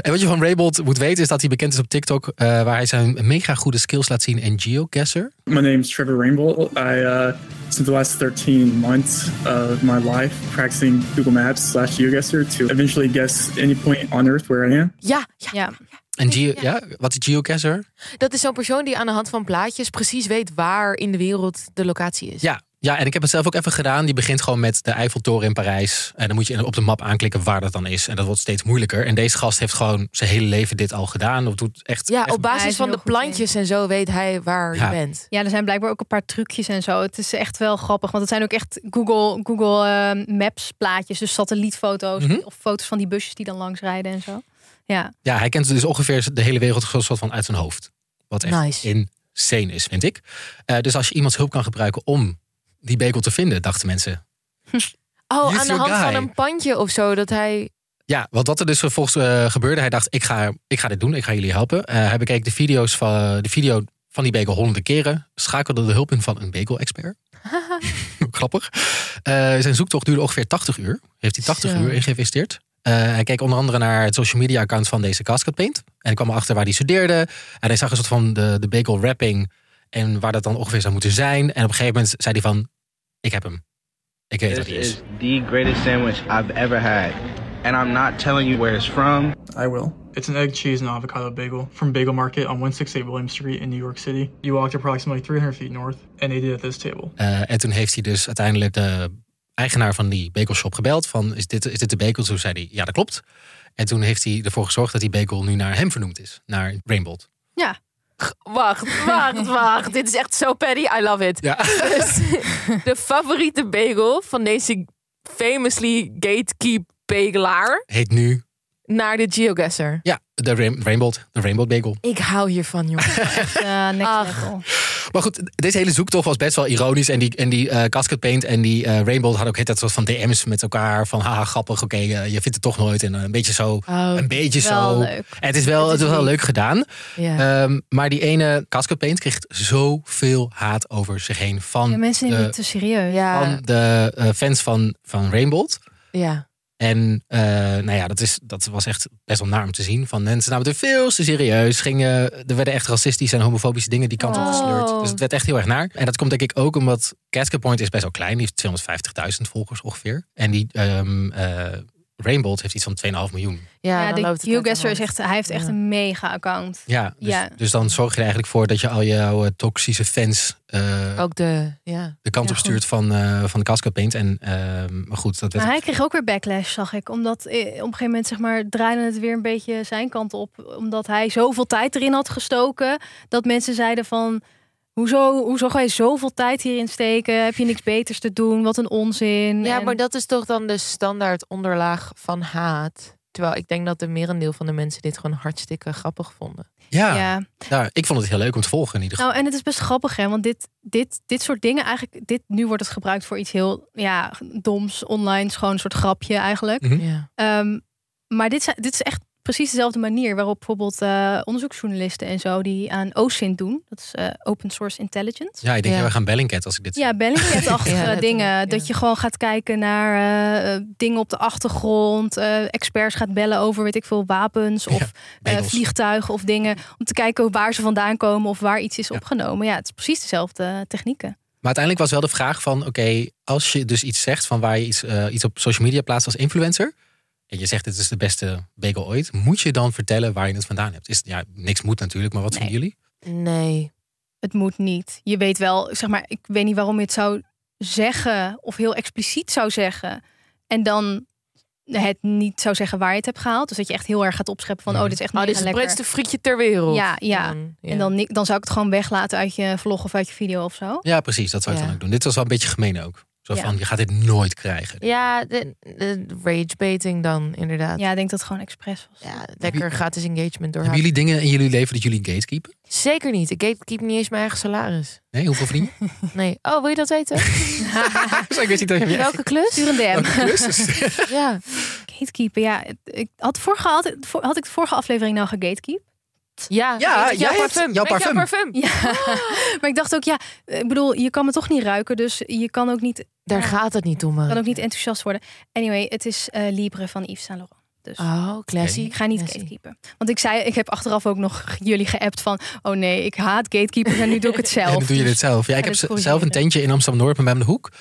D: en wat je van Raybold moet weten is dat hij bekend is op TikTok. eh, waar hij zijn mega goede skills laat zien en geocacher.
J: my name's Trevor Rainbolt. I uh, spent the last 13 months of my life practicing Google Maps slash GeoGuessr to eventually guess any point on Earth where I am.
C: Ja, ja,
E: Ja.
D: En geo, ja. wat is geocacher?
C: dat is zo'n persoon die aan de hand van plaatjes precies weet waar in de wereld de locatie is.
D: Ja, Ja, en ik heb het zelf ook even gedaan. Die begint gewoon met de Eiffeltoren in Parijs. En dan moet je op de map aanklikken waar dat dan is. En dat wordt steeds moeilijker. En deze gast heeft gewoon zijn hele leven dit al gedaan. Of doet echt.
C: Ja,
D: echt-
C: op
E: Hij
C: basis
E: is
C: van
E: heel
C: de
E: goed in.
C: plantjes en zo weet hij waar
D: Ja.
C: je bent.
E: Ja, er zijn blijkbaar ook een paar trucjes en zo. Het is echt wel grappig, want het zijn ook echt Google, Google eh, Maps plaatjes. Dus satellietfoto's
D: Mhm.
E: of foto's van die busjes die dan langs rijden en zo. Ja,
D: Ja, hij kent dus ongeveer de hele wereld zo'n soort van uit zijn hoofd. Wat echt
C: Nice.
D: insane is, vind ik. Eh, dus als je iemands hulp kan gebruiken om die bekel te vinden, dachten mensen.
C: Oh,
D: He's
C: aan de
D: your
C: hand van
D: guy.
C: een pandje of zo. Dat hij.
D: Ja, want wat er dus vervolgens eh, gebeurde, hij dacht: ik ga, ik ga dit doen, ik ga jullie helpen. Eh, hij bekeek de, video's van, de video van die bekel honderden keren, schakelde de hulp in van een bekel-expert. Grappig. Eh, zijn zoektocht duurde ongeveer 80 uur. Heeft hij 80
C: Zo.
D: uur in geïnvesteerd. Eh, hij keek onder andere naar het social media account van deze Casket Paint. En hij kwam erachter waar hij studeerde. En hij zag een soort van de, de bekel wrapping. En waar dat dan ongeveer zou moeten zijn. En op een gegeven moment zei hij van, ik heb hem. Ik weet wat
B: This
D: hij is.
B: is the greatest sandwich I've ever had. And I'm not telling you where it's from.
J: I will.
K: It's an egg, cheese, and avocado bagel from Bagel Market on 168 William Street in New York City. You walked approximately 300 feet north, and they did at this table.
D: Eh, en toen heeft hij dus uiteindelijk de eigenaar van die bekelshop gebeld. Van, is dit, is dit de bekel? Toen zei hij, ja dat klopt. En toen heeft hij ervoor gezorgd dat die bekel nu naar hem vernoemd is. Naar Rainbold.
E: ja.
C: Wacht, wacht, wacht. Dit is echt zo petty. I love it.
D: Ja.
C: Dus de favoriete bagel van deze famously gatekeep bagelaar
D: Heet nu,
C: naar de geoguesser.
D: ja, de Rain- Rainbold. De Rainbold bekel.
C: Ik hou hiervan, jongen.
E: Eh, next
C: Ach.
E: level.
D: Maar goed, deze hele zoektocht was best wel ironisch. En die, en die eh, Casket Paint en die eh Rainbow hadden ook heel dat soort van DM's met elkaar. Van haha, grappig, oké, eh, je vindt het toch nooit. En eh, een beetje zo,
C: Oh,
D: een beetje
E: wel
D: zo.
E: leuk.
D: Het is wel,
C: Het
D: het
C: is
D: is wel
C: lief.
D: leuk gedaan.
C: Ja.
D: Ehm, maar die ene Casket Paint kreeg zoveel haat over zich heen. Van
E: Ja, mensen nemen
D: de,
E: het te serieus.
C: ja,
D: van de eh, fans van, van Rainbow.
C: ja.
D: En eh, nou ja, dat, is, dat was echt best wel naar om te zien. Van mensen namen het veel te serieus. Gingen, er werden echt racistische en homofobische dingen die kant op
C: Oh.
D: gesleurd. Dus het werd echt heel erg naar. En dat komt denk ik ook omdat Casket Point is best wel klein. Die heeft 250.000 volgers ongeveer. En die ehm eh, Rainbolt heeft iets van 2,5 miljoen.
C: Ja,
E: Ja,
C: dan
E: de
C: loopt het uit de
E: Geoguesser is
C: hand.
E: echt, hij heeft echt
C: Ja.
E: een mega account.
D: Ja, dus,
E: Ja.
D: dus dan zorg je er eigenlijk voor dat je al jouw eh, toxische fans eh,
E: Oh,
C: Ook de, ja.
D: de kant
C: ja,
D: op stuurt van, eh van Casket Paint. En ehm, maar goed, dat werd...
E: Maar hij kreeg ook weer backlash, zag ik. Omdat eh, op een gegeven moment zeg maar, draaide het weer een beetje zijn kant op. Omdat hij zoveel tijd erin had gestoken. Dat mensen zeiden van... Hoezo, hoezo ga je zoveel tijd hierin steken? Heb je niks beters te doen? Wat een onzin.
C: Ja,
E: En-
C: maar dat is toch dan de standaard onderlaag van haat. Terwijl ik denk dat de merendeel van de mensen dit gewoon hartstikke grappig vonden.
D: ja, ja.
E: ja.
D: ik vond het heel leuk om te volgen in ieder geval.
E: Nou, en het is best grappig, hè? Want dit, dit, dit soort dingen eigenlijk... Dit, nu wordt het gebruikt voor iets heel ja, doms, online. Gewoon een soort grapje eigenlijk.
D: Hm?
C: Ja.
E: Ehm, maar dit, zijn- dit is echt precies dezelfde manier waarop bijvoorbeeld eh, onderzoeksjournalisten en zo die aan OSINT doen. Dat is eh, Open Source Intelligence.
D: ja, ik denk,
C: ja.
D: we gaan Bellingcat als ik dit
E: Ja, Bellingcat-achtige
C: Ja, letterlijk,
E: eh, dingen.
C: ja.
E: Dat je gewoon gaat kijken naar eh, eh, dingen op de achtergrond. eh, experts gaat bellen over, weet ik veel, wapens of eh,
D: bagels.
E: vliegtuigen of dingen. Om te kijken waar ze vandaan komen of waar iets is opgenomen. Ja, het is precies dezelfde eh, technieken.
D: Maar uiteindelijk was wel de vraag van, oké, als je dus iets zegt van waar je iets, eh, iets op social media plaatst als influencer. En je zegt dit is de beste bagel ooit. Moet je dan vertellen waar je het vandaan hebt? Is, ja, niks moet natuurlijk, maar wat
E: Nee.
D: vinden jullie?
C: Nee.
E: Het moet niet. Je weet wel, zeg maar, ik weet niet waarom je het zou zeggen of heel expliciet zou zeggen. En dan het niet zou zeggen waar je het hebt gehaald. Dus dat je echt heel erg gaat opscheppen van,
D: Mhm.
E: oh, dit is echt
C: Oh, dit
E: mega
C: is het
E: lekker.
C: breedste frietje ter wereld.
E: Ja, ja.
C: Dan, ja.
E: En dan, ni- dan zou ik het gewoon weglaten uit je vlog of uit je video of zo.
D: Ja, precies, dat zou ik
C: Ja.
D: dan ook doen. Dit was wel een beetje gemeen ook. Zo
E: Ja.
D: van, je gaat dit nooit krijgen.
C: Ja, de, de ragebaiting dan, inderdaad. Ja,
E: Ja, ik denk dat het gewoon expres was.
C: lekker gratis engagement door haar.
D: Hebben jullie dingen in jullie leven dat jullie gatekeepen?
C: Zeker niet. Ik gatekeep niet eens mijn eigen salaris.
D: Nee, hoeveel verdienen?
C: Nee. Oh, wil je dat weten?
D: Zo, ik wist niet dat je...
C: Welke klus?
E: Stuur een DM.
C: Ja.
E: Gatekeeper, ja. het- Ik had, vorige, had, het- voor- had ik de vorige aflevering nou gegatekeep?
C: Ja,
D: Ja,
C: met jouw
D: jij hebt
C: parfum.
D: jouw
C: Met
D: parfum.
E: Ja. maar ik dacht ook, ja, ik bedoel, je kan me toch niet ruiken. Dus je kan ook niet,
C: Daar gaat het niet om.
E: kan
C: man.
E: ook niet enthousiast worden. Anyway, het is eh, Libre van Yves Saint Laurent. Dus
C: Oh, classy.
E: ik ga niet
C: classy.
E: gatekeepen. Want ik zei, ik heb achteraf ook nog jullie geappt van... oh nee, ik haat gatekeepers en nu doe ik het zelf.
D: En dan doe je dit
E: Dus-
D: zelf. Ja, ik heb
E: ga dit
D: z- zelf
E: corrigeren.
D: een tentje in Amsterdam-Noord bij mij om de hoek.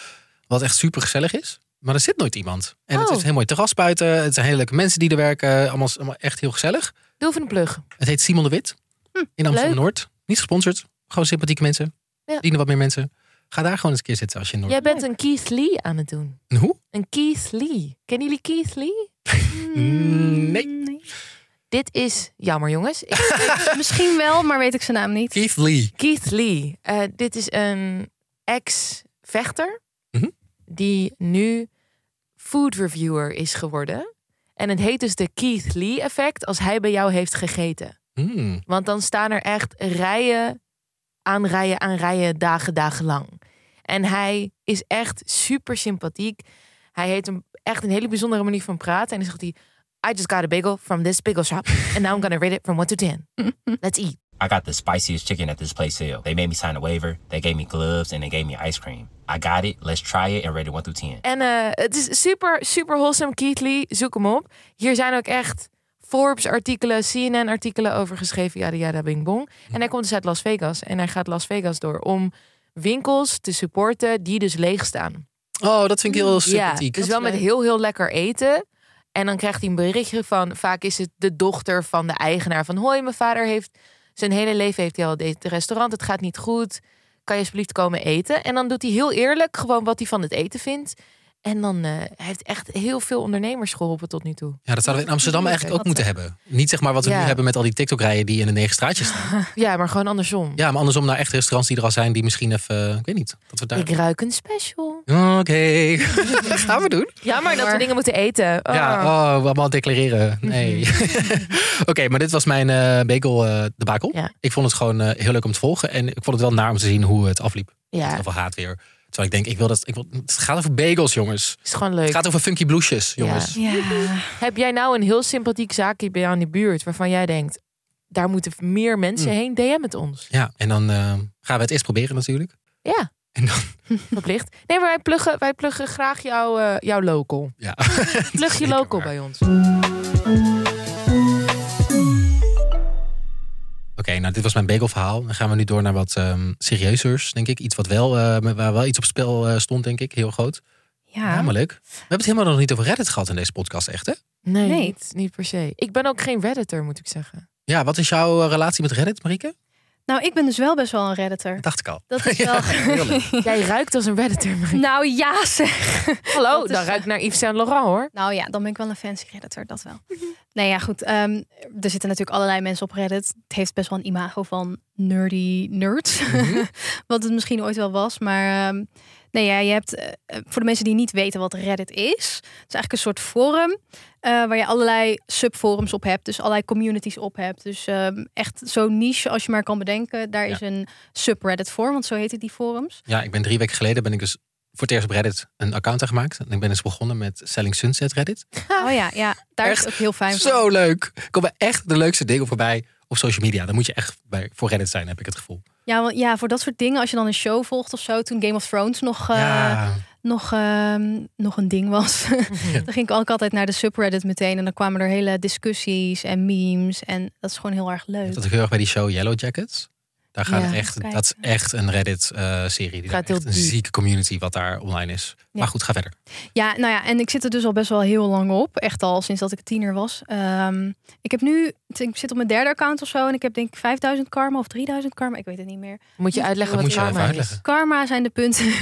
D: Wat echt super gezellig is. Maar er zit nooit iemand. En het
C: Oh.
D: is een heel mooi terras buiten. Het zijn hele leuke mensen die er werken. Allemaal, allemaal echt heel gezellig.
C: Doe even een plug.
D: Het heet
C: Hm,
D: Simon de Wit. in Amsterdam Noord. Niet gesponsord. Gewoon sympathieke mensen.
C: Ja.
D: Dienen wat meer mensen. Ga daar gewoon eens een keer zitten als je nog.
C: Jij bent een Keith Lee aan het doen.
D: Een hoe?
C: Een Keith Lee. Kennen jullie Keith Lee? Mm,
D: Nee.
C: Dit is jammer, jongens. Ik
E: Misschien wel, maar weet ik zijn naam niet.
D: Keith Lee.
C: Keith Lee. Eh, dit is een ex-vechter
D: Mhm.
C: die nu food reviewer is geworden. En het heet dus de Keith Lee effect als hij bij jou heeft gegeten.
D: Hmm.
C: Want dan staan er echt rijen aan rijen aan rijen dagen, dagen lang. En hij is echt super sympathiek. Hij heeft een, echt een hele bijzondere manier van praten. En dan zegt hij, I just got a bagel from this bagel shop. And now I'm gonna rate it from 1 to 10. Let's eat.
L: I got the spiciest chicken at this place sale. They made me sign a waiver, they gave me gloves, and they gave me ice cream. I got it. Let's try it and rate it 1 through 10.
C: En eh, het is super, super wholesome. Keith Lee, zoek hem op. Hier zijn ook echt Forbes-artikelen, CNN-artikelen over geschreven. Yada yada bing bong. En hij komt dus uit Las Vegas. En hij gaat Las Vegas door om winkels te supporten die dus leeg staan.
D: Oh, dat vind ik heel
C: Ja,
D: sympathiek.
C: dus wel met heel, heel lekker eten. En dan krijgt hij een berichtje van... Vaak is het de dochter van de eigenaar van... Hoi, mijn vader heeft... Zijn hele leven heeft hij al dit restaurant. Het gaat niet goed. Kan je alsjeblieft komen eten? En dan doet hij heel eerlijk gewoon wat hij van het eten vindt. En dan eh, hij heeft echt heel veel ondernemers geholpen tot nu toe.
D: Ja, dat zouden we in Amsterdam eigenlijk ook moeten hebben. Niet zeg maar wat we
C: Ja.
D: nu hebben met al die TikTok-rijen die in de negen straatjes staan.
C: Ja, maar gewoon andersom.
D: Ja, maar andersom naar echt restaurants die er al zijn, die misschien even, eh, ik weet niet, dat we daar.
C: Ik ruik een special.
D: Oké, gaan we doen.
C: Jammer dat we dingen moeten eten. Ah.
D: Ja, oh, we allemaal declareren. Nee. Oké, maar dit was mijn eh bagel eh debakel.
C: Ja.
D: Ik vond het gewoon eh, heel leuk om te volgen. En ik vond het wel naar om te zien hoe het afliep.
C: Ja.
D: Heel veel haat weer. Terwijl ik denk, ik wil dat, ik wil, het gaat over bagels, jongens.
C: is gewoon leuk.
D: Het gaat over funky bloesjes, jongens.
E: Ja.
C: Heb jij nou een heel sympathiek zaakje bij jou in de buurt waarvan jij denkt, daar moeten meer
D: Mm.
C: mensen heen? DM het ons.
D: Ja, en dan eh, gaan we het eerst proberen natuurlijk.
C: Ja.
D: En dan,
C: Verplicht. Nee, maar wij pluggen, wij pluggen graag jouw, eh, jouw local.
D: ja.
C: Plug je local bij ons.
D: Oké, nou dit was mijn bagelverhaal. Dan gaan we nu door naar wat ehm serieuzers, denk ik. Iets wat wel, eh, waar wel iets op spel eh, stond, denk ik. Heel groot. Ja, maar leuk. We hebben het helemaal nog niet over Reddit gehad in deze podcast, echt hè?
C: Nee,
E: Nee.
C: Niet, niet per se. Ik ben ook geen redditor, moet ik zeggen.
D: Ja, wat is jouw eh, relatie met Reddit, Marieke?
E: Nou, ik ben dus wel best wel een redditor.
D: Dat dacht ik al.
E: Dat is wel...
D: Ja, heel leuk.
C: Jij ruikt als een redditor. Marie.
E: nou ja zeg.
C: Hallo,
E: Dat is,
C: dan ruik ik naar Yves Saint Laurent hoor.
E: Nou ja, dan ben ik wel een fancy redditor, dat wel. Nee, ja goed. ehm, er zitten natuurlijk allerlei mensen op Reddit. Het heeft best wel een imago van nerdy nerds.
D: Mhm.
E: wat het misschien ooit wel was. Maar ehm, nee, ja, je hebt, eh, eh, voor de mensen die niet weten wat Reddit is. Het is eigenlijk een soort forum eh, waar je allerlei subforums op hebt. Dus allerlei communities op hebt. Dus ehm, echt zo niche als je maar kan bedenken. Daar
D: Ja.
E: is een subreddit voor, want zo heten die forums.
D: Ja, ik ben drie weken geleden ben ik dus voor het eerst op Reddit een account aangemaakt. En ik ben eens begonnen met Selling Sunset Reddit.
E: Oh ja, ja daar is
D: Echt
E: het ook heel fijn voor.
D: Zo leuk. Er komen echt de leukste dingen voorbij op social media. Dan moet je echt bij, voor Reddit zijn, heb ik het gevoel.
E: Ja, want, ja, voor dat soort dingen, als je dan een show volgt of zo, toen Game of Thrones nog, eh,
D: ja. Mhm.
E: nog, ehm, nog een ding was, dan ging ik ook altijd naar de subreddit meteen en dan kwamen er hele discussies en memes en dat is gewoon heel erg leuk.
D: Dat ik heel erg bij die show Yellow Jackets. Daar gaat
C: Ja,
D: echt,
E: kijk.
D: dat is echt een Reddit-serie. die daar
C: Gaat heel
D: echt een
C: diep.
D: zieke community wat daar online is. Maar goed, ga verder.
E: Ja, nou ja, en ik zit er dus al best wel heel lang op, echt al sinds dat ik tiener was. Ehm, ik heb nu, ik zit op mijn derde account of zo en ik heb denk ik 5000 karma of 3000 karma, ik weet het niet meer. Dus
C: Moet je uitleggen
D: Dat
C: wat
D: moet je even
C: karma is.
D: uitleggen.
E: Karma zijn de punten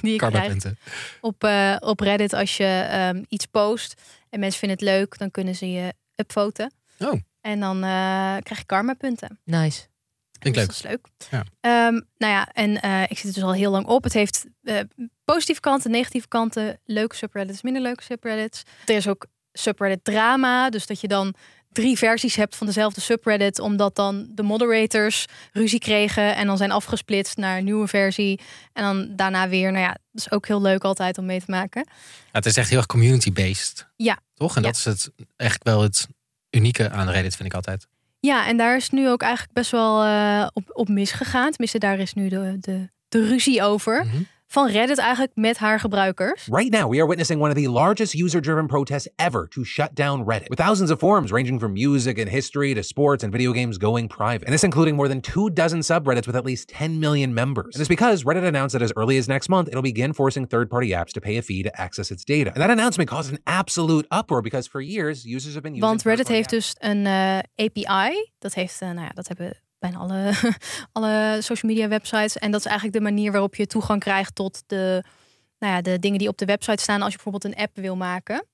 E: die ik krijg
D: Karma-punten.
E: op, eh, op Reddit als je ehm, iets post en mensen vinden het leuk, dan kunnen ze je upvoten.
D: Oh.
E: En dan eh, krijg je karma punten.
C: Nice.
D: Vind ik
E: Dus
D: leuk.
E: Dat is leuk.
D: Ja.
E: Ehm, nou ja, en eh, ik zit er dus al heel lang op. Het heeft eh, positieve kanten, negatieve kanten, leuke subreddits, minder leuke subreddits. Er is ook subreddit drama, dus dat je dan drie versies hebt van dezelfde subreddit, omdat dan de moderators ruzie kregen en dan zijn afgesplitst naar een nieuwe versie en dan daarna weer. Nou ja, dat is ook heel leuk altijd om mee te maken.
D: Ja, Nou, het is echt heel erg community-based.
E: Ja.
D: Toch? En
E: Ja.
D: dat is het, echt wel het unieke aan Reddit, vind ik altijd.
E: Ja, en daar is nu ook eigenlijk best wel eh, op, op misgegaan. Tenminste, daar is nu de, de, de ruzie over.
D: Mhm.
E: Van Reddit eigenlijk met haar gebruikers.
A: Right now, we are witnessing one of the largest user driven protests ever to shut down Reddit, with thousands of forums ranging from music and history to sports and video games going private. And this including more than two dozen subreddits with at least 10 million members. And it's because Reddit announced that as early as next month, it'll begin forcing third party apps to pay a fee to access its data. And that announcement caused an absolute uproar because for years, users have been using.
E: Want Reddit
A: third-party
E: heeft dus een eh, API. Dat, heeft, eh, nou ja, dat hebben bijna alle, alle social media websites. En dat is eigenlijk de manier waarop je toegang krijgt tot de, nou ja, de dingen die op de website staan als je bijvoorbeeld een app wil maken.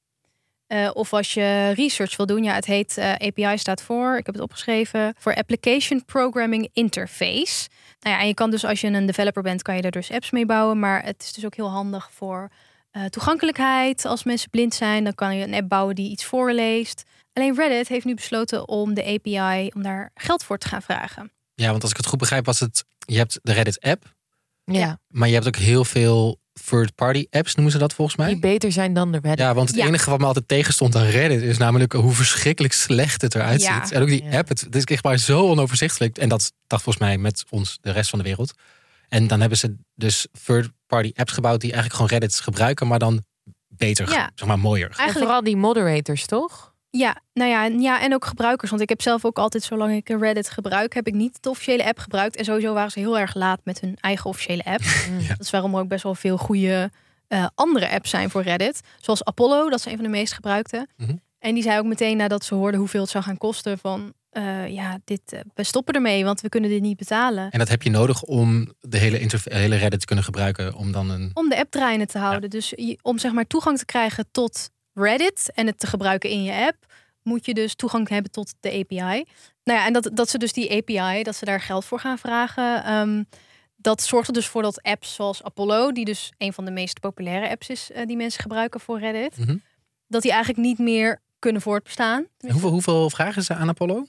E: Eh, of als je research wil doen. Ja, het heet eh, API staat voor, ik heb het opgeschreven, voor Application Programming Interface. Nou ja, en je kan dus als je een developer bent, kan je er dus apps mee bouwen. Maar het is dus ook heel handig voor eh, toegankelijkheid. Als mensen blind zijn, dan kan je een app bouwen die iets voorleest. Alleen Reddit heeft nu besloten om de API, om daar geld voor te gaan vragen.
D: Ja, want als ik het goed begrijp was het... Je hebt de Reddit-app,
C: Ja.
D: maar je hebt ook heel veel third-party apps, noemen ze dat volgens mij.
C: Die beter zijn dan de Reddit.
D: Ja, want het enige wat me altijd tegenstond aan Reddit is namelijk hoe verschrikkelijk slecht het eruit
C: Ja.
D: ziet. En ook die app, het, het is echt maar zo onoverzichtelijk. En dat dacht volgens mij met ons de rest van de wereld. En dan hebben ze dus third-party apps gebouwd die eigenlijk gewoon Reddit gebruiken, maar dan beter,
E: Ja.
D: zeg maar mooier.
C: Eigenlijk... Vooral die moderators, toch?
E: Ja, nou ja, en- ja, en ook gebruikers. Want ik heb zelf ook altijd, zolang ik Reddit gebruik, heb ik niet de officiële app gebruikt. En sowieso waren ze heel erg laat met hun eigen officiële app. Dat is waarom er ook best wel veel goede eh, andere apps zijn voor Reddit. Zoals Apollo, dat is een van de meest gebruikte. En die zei ook meteen nadat ze hoorden hoeveel het zou gaan kosten van... eh, ja, dit, eh, we stoppen ermee, want we kunnen dit niet betalen.
D: En dat heb je nodig om de hele, interf- hele Reddit te kunnen gebruiken. Om dan een.
E: Om de app draaiende te houden. Dus je- om zeg maar toegang te krijgen tot Reddit en het te gebruiken in je app, moet je dus toegang hebben tot de API. Nou ja, en dat, dat ze dus die API, dat ze daar geld voor gaan vragen. ehm, dat zorgt er dus voor dat apps zoals Apollo, die dus een van de meest populaire apps is eh, die mensen gebruiken voor Reddit,
D: Mhm.
E: dat die eigenlijk niet meer kunnen voortbestaan.
D: En Hoeveel, hoeveel vragen ze aan Apollo?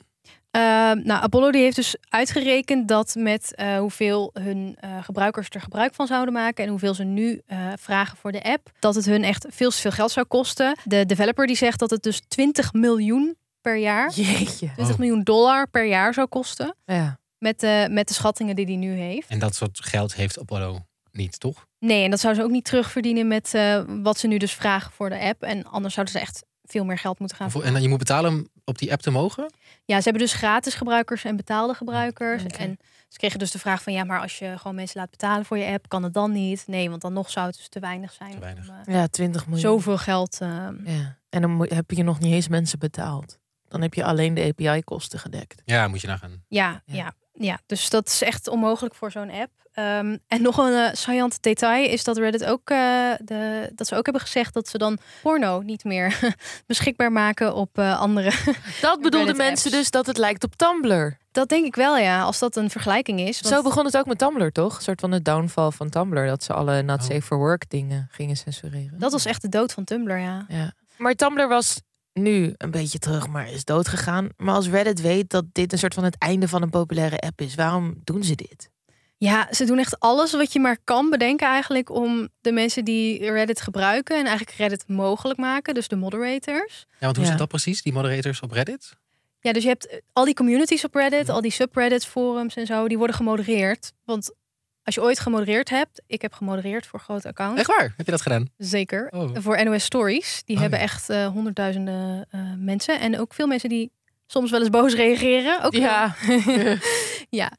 E: Ehm, nou, Apollo die heeft dus uitgerekend dat met eh, hoeveel hun eh, gebruikers er gebruik van zouden maken en hoeveel ze nu eh, vragen voor de app, dat het hun echt veel te veel geld zou kosten. De developer die zegt dat het dus 20 miljoen per jaar, 20 miljoen dollar per jaar zou kosten.
C: Ja.
E: Met, de met de schattingen die hij nu heeft.
D: En dat soort geld heeft Apollo niet, toch?
E: Nee, en dat zouden ze ook niet terugverdienen met eh, wat ze nu dus vragen voor de app. En anders zouden ze echt veel meer geld moeten gaan
D: Hoeveel- En dan je moet betalen om op die app te mogen?
E: Ja, ze hebben dus gratis gebruikers en betaalde gebruikers. En ze kregen dus de vraag van ja, maar als je gewoon mensen laat betalen voor je app, kan het dan niet? Nee, want dan nog zou het dus te weinig zijn. Te weinig.
C: Ja, 20 miljoen.
E: Zoveel geld. eh,
C: Ja. En dan moet- heb je nog niet eens mensen betaald. Dan heb je alleen de API-kosten gedekt.
D: Ja, moet je nagaan.
E: ja, ja. ja, Dus dat is echt onmogelijk voor zo'n app. Ehm, en nog een eh, saillant detail is dat Reddit ook eh, de, dat ze ook hebben gezegd dat ze dan porno niet meer beschikbaar maken op eh, andere.
C: Dat bedoelden mensen dus dat het lijkt op Tumblr.
E: Dat denk ik wel, ja, als dat een vergelijking is.
C: Zo begon het ook met Tumblr, toch? Een soort van de downfall van Tumblr. Dat ze alle
D: Oh.
C: not safe for work dingen gingen censureren.
E: Dat was echt de dood van Tumblr, ja.
C: Ja. Maar Tumblr was nu een beetje terug, maar is dood gegaan. Maar als Reddit weet dat dit een soort van het einde van een populaire app is, waarom doen ze dit?
E: Ja, ze doen echt alles wat je maar kan bedenken eigenlijk om de mensen die Reddit gebruiken en eigenlijk Reddit mogelijk maken, dus de moderators.
D: Ja, want hoe zit dat precies, die moderators op Reddit?
E: Ja, dus je hebt eh, al die communities op Reddit, al die subreddit forums en zo, die worden gemodereerd. Want als je ooit gemodereerd hebt, ik heb gemodereerd voor grote accounts.
D: Echt waar? Heb je dat gedaan?
E: Zeker.
D: Oh.
E: Voor NOS Stories. Die
D: Oh,
E: hebben
D: ja.
E: echt eh, honderdduizenden eh, mensen. En ook veel mensen die soms wel eens boos reageren. Ook ja. ja.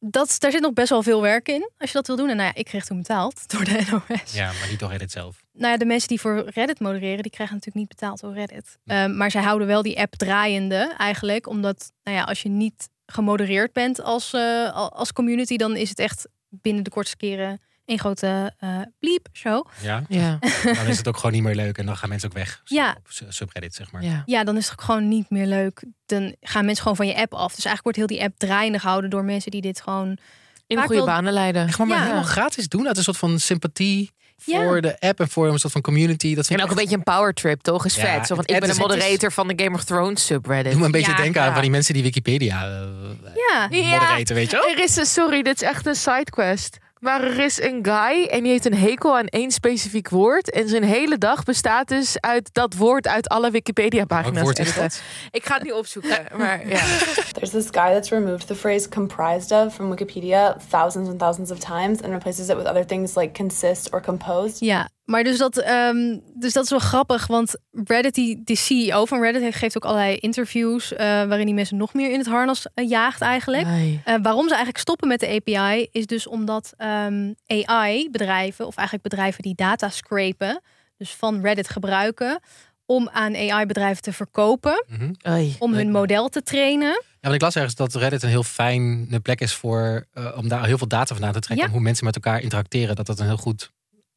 E: Dat, daar zit nog best wel veel werk in. Als je dat wil doen. En nou ja, ik kreeg toen betaald door de NOS
D: Ja, maar niet door Reddit zelf.
E: nou ja, de mensen die voor Reddit modereren, die krijgen natuurlijk niet betaald door Reddit. Ehm, maar zij houden wel die app draaiende eigenlijk. Omdat, nou ja, als je niet gemodereerd bent als, eh, al- als community, dan is het echt binnen de kortste keren een grote eh bliep show.
D: Ja?
C: ja.
D: Dan is het ook gewoon niet meer leuk en dan gaan mensen ook weg.
E: Ja,
D: Op su- subreddit, zeg maar.
C: ja.
E: ja, dan is het ook gewoon niet meer leuk. Dan gaan mensen gewoon van je app af. Dus eigenlijk wordt heel die app draaiende gehouden door mensen die dit gewoon...
C: In
E: vaak
C: goede
E: wel-
C: banen leiden.
D: Echt maar, maar
E: Ja.
D: helemaal gratis doen uit een soort van sympathie
E: Ja.
D: voor de app en voor een soort van community. Dat vind
C: En
D: ik
C: ook een
D: echt-
C: beetje een power trip, toch? Is
D: Ja,
C: vet. Zo van,
D: het-
C: ik
D: het
C: ben de
D: is- het is-
C: moderator van de Game of Thrones subreddit.
D: Doe me een beetje
C: Ja,
D: denken aan
C: ja.
D: van die mensen die Wikipedia eh,
E: Ja,
D: moderaten, weet je wel?
C: Er is een, sorry, dit is echt een sidequest. Maar er is een guy en die heeft een hekel aan één specifiek woord. En zijn hele dag bestaat dus uit dat woord uit alle Wikipedia-pagina's.
M: Welk woord is
C: editen.
M: dat?
C: Ik ga het niet opzoeken, maar ja.
M: There's this guy that's removed the phrase comprised of from Wikipedia thousands and thousands of times and replaces it with other things like consist or composed.
E: Ja, maar dus dat, ehm, dus dat is wel grappig. Want Reddit, die, de CEO van Reddit, heeft- geeft ook allerlei interviews. eh, waarin die mensen nog meer in het harnas eh, jaagt, eigenlijk.
C: Ai.
E: Eh, waarom ze eigenlijk stoppen met de API is dus omdat AI-bedrijven, of eigenlijk bedrijven die data scrapen, dus van Reddit gebruiken, om aan AI-bedrijven te verkopen,
D: Mhm.
E: om hun model te trainen.
D: want ik las ergens dat Reddit een heel fijne plek is voor, eh, om daar heel veel data vandaan te trekken.
E: Ja.
D: En hoe mensen met elkaar interacteren, dat dat een heel goed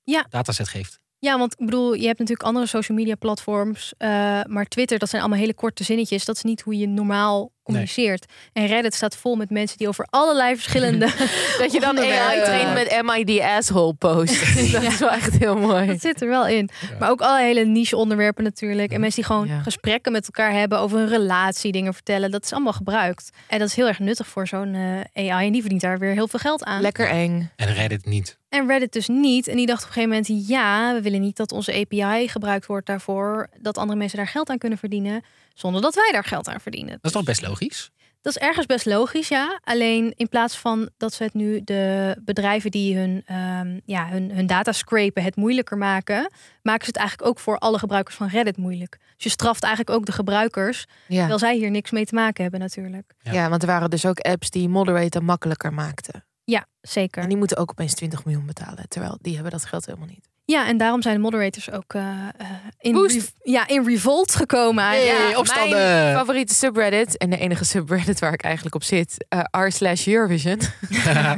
E: Ja.
D: dataset geeft.
E: Ja, want ik bedoel, je hebt natuurlijk andere social media platforms. eh, maar Twitter, dat zijn allemaal hele korte zinnetjes. Dat is niet hoe je normaal communiceert. En Reddit staat vol met mensen die over allerlei verschillende.
C: Dat je dan AI traint met MID asshole post. Dat is wel echt heel mooi.
E: Dat zit er wel in. Maar ook alle hele niche onderwerpen natuurlijk. En mensen die gewoon gesprekken met elkaar hebben over hun relatie, dingen vertellen. Dat is allemaal gebruikt. En dat is heel erg nuttig voor zo'n eh, AI. En die verdient daar weer heel veel geld aan.
C: Lekker eng.
D: En Reddit niet.
E: En Reddit dus niet. En die dacht op een gegeven moment: ja, we willen niet dat onze API gebruikt wordt daarvoor. Dat andere mensen daar geld aan kunnen verdienen. Zonder dat wij daar geld aan verdienen.
D: Dat is toch best logisch?
E: Dat is ergens best logisch, ja. Alleen in plaats van dat ze het nu de bedrijven die hun, ehm, ja, hun, hun data scrapen het moeilijker maken, maken ze het eigenlijk ook voor alle gebruikers van Reddit moeilijk. Dus je straft eigenlijk ook de gebruikers,
C: Ja.
E: terwijl zij hier niks mee te maken hebben natuurlijk.
C: Ja. want er waren dus ook apps die moderator makkelijker maakten.
E: Ja, zeker.
C: En die moeten ook opeens 20 miljoen betalen. Terwijl die hebben dat geld helemaal niet.
E: Ja, en daarom zijn de moderators ook eh, eh, in, rev- ja, in revolt gekomen. eigenlijk.
C: ja, Mijn favoriete subreddit en de enige subreddit waar ik eigenlijk op zit, eh, r slash Eurovision.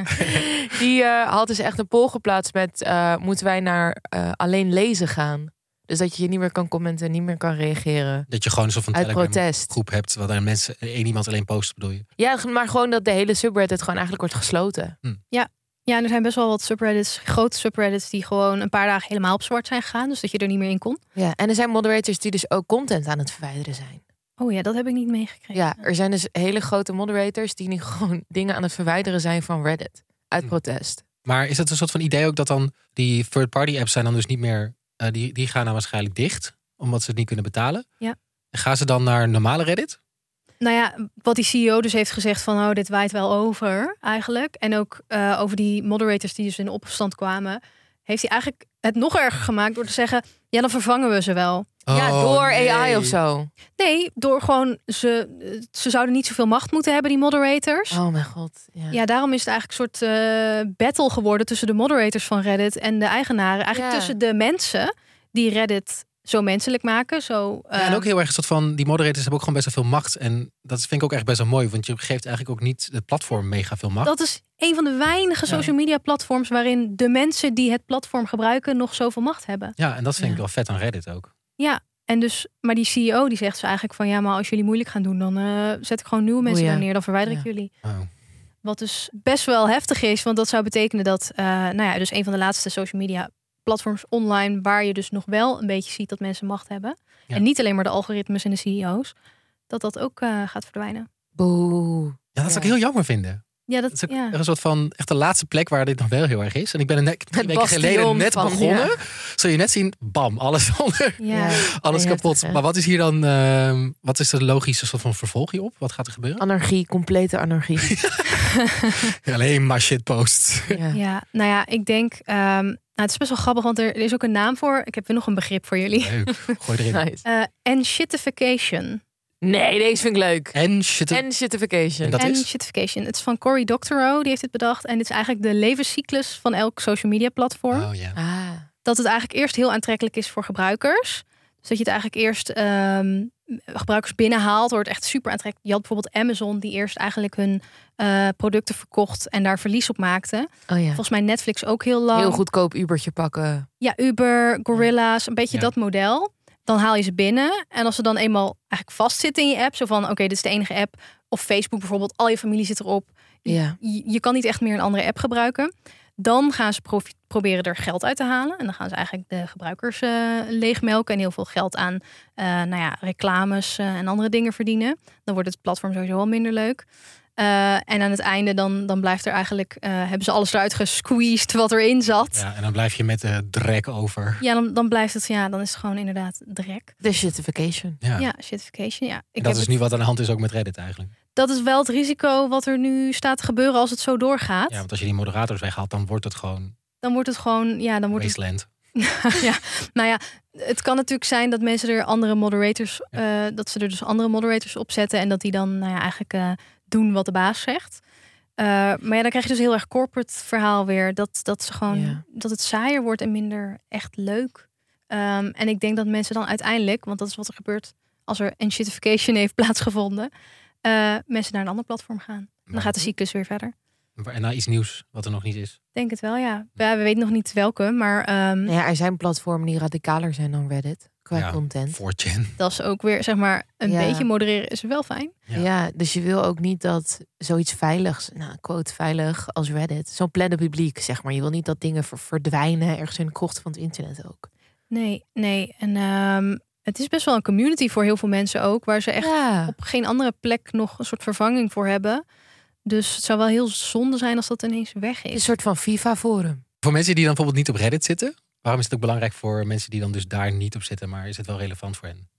C: die eh, had dus echt een poll geplaatst met eh, moeten wij naar eh, alleen lezen gaan. Dus dat je niet meer kan commenten, niet meer kan reageren.
D: Dat je gewoon een soort van
C: Uit
D: Telegram
C: protest.
D: groep hebt, waar dan mensen, één iemand alleen post, bedoel je?
C: Ja, maar gewoon dat de hele subreddit gewoon eigenlijk wordt gesloten.
E: Ja. Ja, en er zijn best wel wat subreddits, grote subreddits, die gewoon een paar dagen helemaal op zwart zijn gegaan. Dus dat je er niet meer in kon.
C: Ja, en er zijn moderators die dus ook content aan het verwijderen zijn.
E: Oh ja, dat heb ik niet meegekregen.
C: Ja, er zijn dus hele grote moderators die nu gewoon dingen aan het verwijderen zijn van Reddit. Uit protest.
D: Maar is het een soort van idee ook dat dan die third-party apps zijn dan dus niet meer, eh, die, die gaan dan waarschijnlijk dicht, omdat ze het niet kunnen betalen?
E: Ja.
D: En gaan ze dan naar normale Reddit?
E: Nou ja, wat die CEO dus heeft gezegd van oh, dit waait wel over eigenlijk. En ook eh, over die moderators die dus in opstand kwamen, heeft hij eigenlijk het nog erger gemaakt door te zeggen, ja, dan vervangen we ze wel.
C: ja,
D: Oh,
C: door AI of zo.
E: Nee, door gewoon ze, ze zouden niet zoveel macht moeten hebben, die moderators.
C: Oh mijn god. Ja.
E: Ja, daarom is het eigenlijk een soort eh, battle geworden tussen de moderators van Reddit en de eigenaren. Eigenlijk
C: Ja.
E: tussen de mensen die Reddit zo menselijk maken. Zo,
D: Ja, en
E: eh,
C: Ehm,
D: ook heel erg een soort van, die moderators hebben ook gewoon best wel veel macht. En dat vind ik ook echt best wel mooi, want je geeft eigenlijk ook niet het platform mega veel macht.
E: Dat is een van de weinige social media platforms waarin de mensen die het platform gebruiken nog zoveel macht hebben.
D: Ja, en dat vind ik wel vet aan Reddit ook.
E: Ja, en dus, maar die CEO die zegt ze eigenlijk van ja, maar als jullie moeilijk gaan doen, dan eh, zet ik gewoon nieuwe mensen
C: Oei, Oh ja.
E: daar neer, dan verwijder ik
C: Ja.
E: jullie.
D: Oh.
E: Wat dus best wel heftig is, want dat zou betekenen dat, eh, nou ja, dus een van de laatste social media platforms online waar je dus nog wel een beetje ziet dat mensen macht hebben.
D: Ja.
E: En niet alleen maar de algoritmes en de CEO's, dat dat ook eh, gaat verdwijnen.
C: Boe.
D: Ja, dat zou ik heel jammer vinden.
E: Ja, dat,
D: Dat is ook
E: ja.
D: echt een soort van, echt de laatste plek waar dit nog wel heel erg is. En ik ben er net twee
C: Het
D: weken geleden
C: bastion
D: net
C: van,
D: begonnen.
C: ja.
D: Zul je net zien, bam, alles onder.
E: Ja.
D: Alles
C: Ja,
D: kapot.
C: heftig, hè?
D: maar wat is hier dan, ehm, wat is de logische soort van vervolg hierop? Wat gaat er gebeuren?
C: Anarchie, complete anarchie.
D: Alleen maar shitposts.
C: Ja.
E: Ja, nou ja, ik denk. ehm, nou, het is best wel grappig, want er, er is ook een naam voor. Ik heb weer nog een begrip voor jullie.
D: Leuk, gooi erin.
C: Nice.
E: Eh, Enshittification.
C: Nee, deze vind ik leuk.
D: En shit.
C: En shitification.
E: Enshittification. Het is van Cory Doctorow, die heeft het bedacht. En dit is eigenlijk de levenscyclus van elk social media platform.
D: Oh ja.
C: Ah.
E: dat het eigenlijk eerst heel aantrekkelijk is voor gebruikers. Dus dat je het eigenlijk eerst ehm, gebruikers binnenhaalt, wordt echt super aantrekkelijk. Je had bijvoorbeeld Amazon die eerst eigenlijk hun eh, producten verkocht en daar verlies op maakte.
C: Oh ja.
E: Volgens mij Netflix ook heel lang.
C: Heel goedkoop Ubertje pakken.
E: Ja, Uber, Gorilla's, een beetje
C: Ja.
E: dat model. Dan haal je ze binnen. En als ze dan eenmaal eigenlijk vastzitten in je app, zo van oké, dit is de enige app. Of Facebook bijvoorbeeld, al je familie zit erop. Je,
C: Ja.
E: je, je kan niet echt meer een andere app gebruiken. Dan gaan ze profi- proberen er geld uit te halen. En dan gaan ze eigenlijk de gebruikers eh, leegmelken en heel veel geld aan eh, nou ja, reclames eh, en andere dingen verdienen. Dan wordt het platform sowieso al minder leuk. Eh, en aan het einde dan, dan blijft er eigenlijk, eh, hebben ze alles eruit gesqueezed wat erin zat.
D: Ja, en dan blijf je met de drek over.
E: Ja, dan, dan blijft het, ja, dan is het gewoon inderdaad drek.
C: De shitification.
D: Ja.
E: Ja, shitfication, ja.
D: En dat
E: Ik heb
D: is
E: het-
D: nu wat aan de hand is ook met Reddit eigenlijk.
E: dat is wel het risico wat er nu staat te gebeuren als het zo doorgaat.
D: Ja, want als je die moderators weghaalt, dan wordt het gewoon
E: Dan wordt het gewoon, ja, dan wordt het
D: wasteland.
E: ja, nou ja, het kan natuurlijk zijn dat mensen er andere moderators, eh, dat ze er dus andere moderators op zetten en dat die dan nou ja, eigenlijk eh, doen wat de baas zegt. Eh, maar ja, dan krijg je dus heel erg corporate verhaal weer. Dat, dat, ze gewoon,
C: Ja.
E: dat het saaier wordt en minder echt leuk. Ehm, en ik denk dat mensen dan uiteindelijk, want dat is wat er gebeurt als er een shitification heeft plaatsgevonden, eh, mensen naar een ander platform gaan. Dan gaat de cyclus weer verder.
D: En nou iets nieuws wat er nog niet is.
E: Denk het wel, ja. ja we weten nog niet welke, maar ehm,
C: Nou ja, er zijn platformen die radicaler zijn dan Reddit qua
D: Ja,
C: content.
D: 4chan.
E: dat is ook weer, zeg maar, een
C: Ja.
E: beetje modereren is wel fijn.
C: Ja. dus je wil ook niet dat zoiets veiligs, nou, quote veilig als Reddit, zo'n plannen publiek, zeg maar. Je wil niet dat dingen ver- verdwijnen ergens in de krocht van het internet ook.
E: Nee, nee. En ehm, het is best wel een community voor heel veel mensen ook, waar ze echt
C: Ja.
E: op geen andere plek nog een soort vervanging voor hebben. Dus het zou wel heel zonde zijn als dat ineens weg is.
C: Een soort van FIFA-forum.
D: Voor mensen die dan bijvoorbeeld niet op Reddit zitten, waarom is het ook belangrijk voor mensen die dan dus daar niet op zitten, maar is het wel relevant voor hen?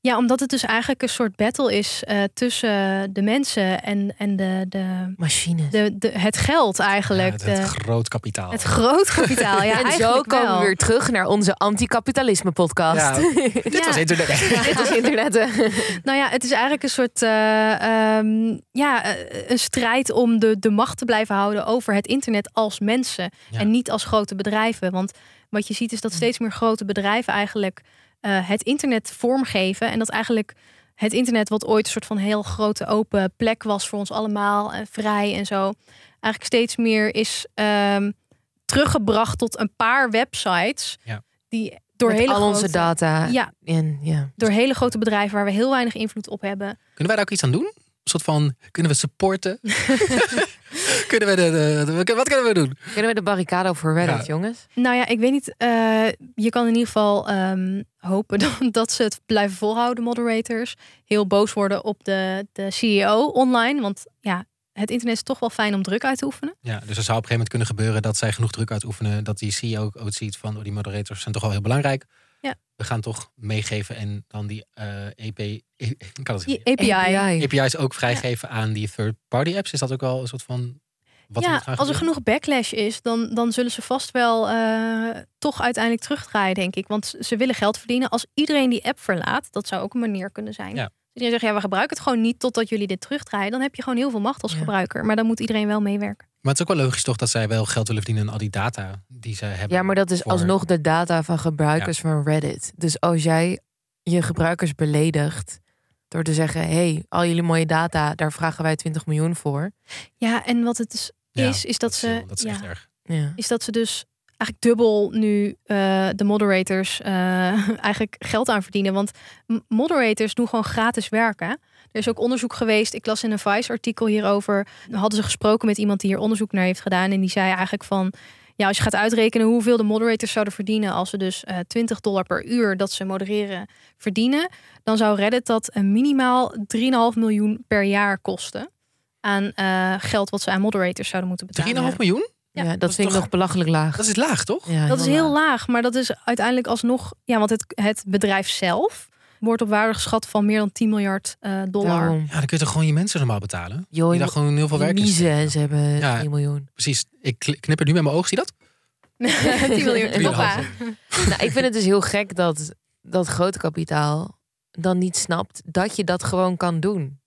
E: Ja, omdat het dus eigenlijk een soort battle is eh, tussen de mensen en, en de, de
C: machines.
E: De, de, het geld eigenlijk.
D: Het,
E: de-
D: het groot kapitaal.
E: het groot kapitaal. Oh Ja,
C: en zo
E: eigenlijk
C: komen
E: wel.
C: we weer terug naar onze anticapitalisme-podcast.
D: Ja, dit
E: Ja.
D: was internet.
C: Dit eh, is internet.
E: Nou ja, het is eigenlijk een soort eh, ehm, ja, eh, een strijd om de, de macht te blijven houden over het internet als mensen en niet als grote bedrijven. Want wat je ziet is dat steeds meer grote bedrijven eigenlijk eh, het internet vormgeven en dat eigenlijk het internet wat ooit een soort van heel grote open plek was voor ons allemaal en vrij en zo, eigenlijk steeds meer is ehm, teruggebracht tot een paar websites
D: Ja.
E: die door
C: Met
E: hele
C: al onze
E: grote-
C: data.
E: Ja,
C: En, ja.
E: door hele grote bedrijven waar we heel weinig invloed op hebben.
D: Kunnen wij daar ook iets aan doen? Een soort van, kunnen we supporten? kunnen we de, de- de- wat kunnen we doen?
C: Kunnen we de barricade voor Reddit,
D: Ja.
C: jongens?
E: Nou ja, ik weet niet. eh, je kan in ieder geval ehm, hopen dat, dat ze het blijven volhouden, moderators. Heel boos worden op de, de CEO online. Want ja, het internet is toch wel fijn om druk uit te oefenen.
D: Ja, dus er zou op een gegeven moment kunnen gebeuren dat zij genoeg druk uitoefenen, dat die CEO ook ooit ziet van, oh, die moderators zijn toch wel heel belangrijk.
E: Ja.
D: We gaan toch meegeven en dan die eh EP, ik kan het
E: Die
D: zeggen.
E: API.
D: API's ook vrijgeven aan die third-party apps. Is dat ook wel een soort van. Wat we
E: ja,
D: moet gaan
E: als er
D: gebeuren?
E: genoeg backlash is, dan, dan zullen ze vast wel eh, toch uiteindelijk terugdraaien, denk ik. Want ze- ze willen geld verdienen. Als iedereen die app verlaat, dat zou ook een manier kunnen zijn.
D: Ja.
E: Als iedereen zegt, ja, we gebruiken het gewoon niet totdat jullie dit terugdraaien. Dan heb je gewoon heel veel macht als gebruiker. Maar dan moet iedereen wel meewerken.
D: Maar het is ook wel logisch toch dat zij wel geld willen verdienen aan al die data die zij hebben.
C: Ja, maar dat is
D: voor-
C: alsnog de data van gebruikers van Reddit. Dus als jij je gebruikers beledigt door te zeggen: hé, hey, al jullie mooie data, daar vragen wij 20 miljoen voor.
E: Ja, en wat het dus
C: Ja,
E: is, is dat, ze.
D: Dat is
E: ja,
D: echt erg.
C: Ja.
E: Is dat ze dus eigenlijk dubbel nu eh, de moderators eh, eigenlijk geld aan verdienen. Want m- moderators doen gewoon gratis werken. Er is ook onderzoek geweest. Ik las in een Vice-artikel hierover. Hadden ze gesproken met iemand die hier onderzoek naar heeft gedaan. En die zei eigenlijk van... Ja, als je gaat uitrekenen hoeveel de moderators zouden verdienen... als ze dus eh 20 dollar per uur dat ze modereren verdienen... dan zou Reddit dat een minimaal 3,5 miljoen per jaar kosten... aan eh, geld wat ze aan moderators zouden moeten betalen.
D: 3,5 miljoen?
C: Ja, dat, vind ik nog belachelijk laag.
D: Dat is laag, toch?
E: dat is heel laag, maar dat is uiteindelijk alsnog. Ja, want het, het bedrijf zelf wordt op waarde geschat van meer dan 10 miljard eh, dollar.
D: Ja, dan kun je toch gewoon je mensen normaal betalen?
C: Joh,
D: die
C: je
D: daar
C: moet-
D: gewoon heel veel
C: die
D: werk in
C: niezen
D: steken.
C: en ze hebben
D: Ja.
C: 3 miljoen.
D: Precies. Ik kn- knipper nu met mijn oog, zie je dat?
E: 10 miljard dollar.
D: 3,5.
C: nou, ik vind het dus heel gek dat dat grote kapitaal dan niet snapt dat je dat gewoon kan doen.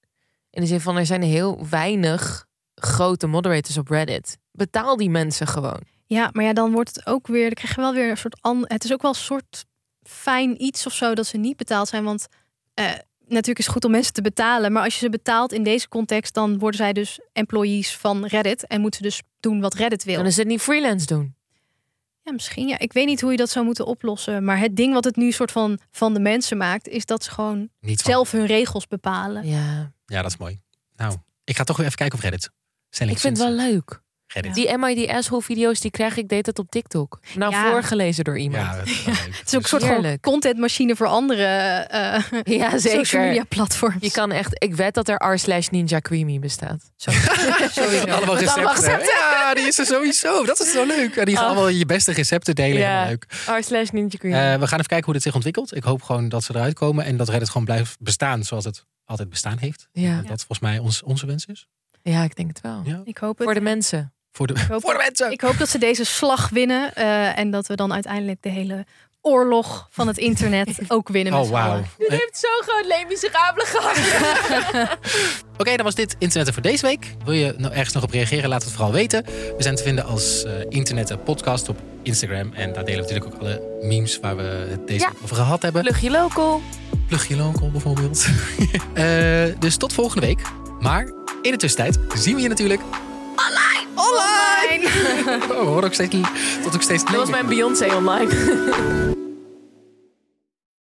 C: In de zin van er zijn heel weinig grote moderators op Reddit. Betaal die mensen gewoon.
E: Ja, maar ja, dan wordt het ook weer. Dan krijg je wel weer een soort. an- het is ook wel een soort fijn iets of zo dat ze niet betaald zijn. Want eh, natuurlijk is het goed om mensen te betalen. Maar als je ze betaalt in deze context, dan worden zij dus employees van Reddit. En moeten ze dus doen wat Reddit wil.
C: Dan is het niet freelance doen.
E: Ja, misschien. Ja, ik weet niet hoe je dat zou moeten oplossen. Maar het ding wat het nu soort van van de mensen maakt, is dat ze gewoon
D: Niet van-
E: zelf hun regels bepalen.
C: Ja,
D: Ja, dat is mooi. Nou, ik ga toch weer even kijken op Reddit. Stelling
C: ik vind het wel leuk.
D: Reddit.
C: Die MID asshole video's die krijg ik deed het op TikTok. Nou,
E: Ja.
C: voorgelezen door iemand.
D: Ja, dat is wel leuk.
E: het is ook een soort van
C: Heerlijk.
E: contentmachine voor andere eh,
C: Ja, zeker.
E: social media platforms.
C: Je kan echt, ik weet dat er r slash ninja creamy bestaat. Met
D: Allemaal recepten.
C: allemaal recepten.
D: Ja, die is er sowieso. Dat is zo leuk. En die gaan
C: Oh.
D: allemaal je beste recepten delen. Helemaal leuk.
C: r slash ninja creamy.
D: Eh, we gaan even kijken hoe dit zich ontwikkelt. Ik hoop gewoon dat ze eruit komen en dat Reddit gewoon blijft bestaan zoals het altijd bestaan heeft.
C: Ja.
D: Dat volgens mij ons, onze wens is.
C: ja, ik denk het wel.
D: Eh. Ja.
E: Ik hoop het.
C: Voor de mensen.
D: Voor de,
E: Ik hoop,
D: voor de mensen.
E: Ik hoop dat ze deze slag winnen eh, en dat we dan uiteindelijk de hele oorlog van het internet ook winnen met
D: Oh,
E: z'n
D: wauw.
E: allen.
C: Dit heeft zo'n groot lemisabele gehad.
D: Oké, dan was dit Internetten voor deze week. Wil je nou ergens nog op reageren? Laat het vooral weten. We zijn te vinden als eh Internetten Podcast op Instagram. En daar delen we natuurlijk ook alle memes waar we het deze
F: Ja.
D: week over gehad hebben.
F: Plug je local.
D: Plug je local bijvoorbeeld. Eh, dus tot volgende week. Maar in de tussentijd zien we je natuurlijk.
F: Online! Online!
D: Oh, we horen ook steeds. Tot ook steeds.
F: Dat was mijn Beyoncé online.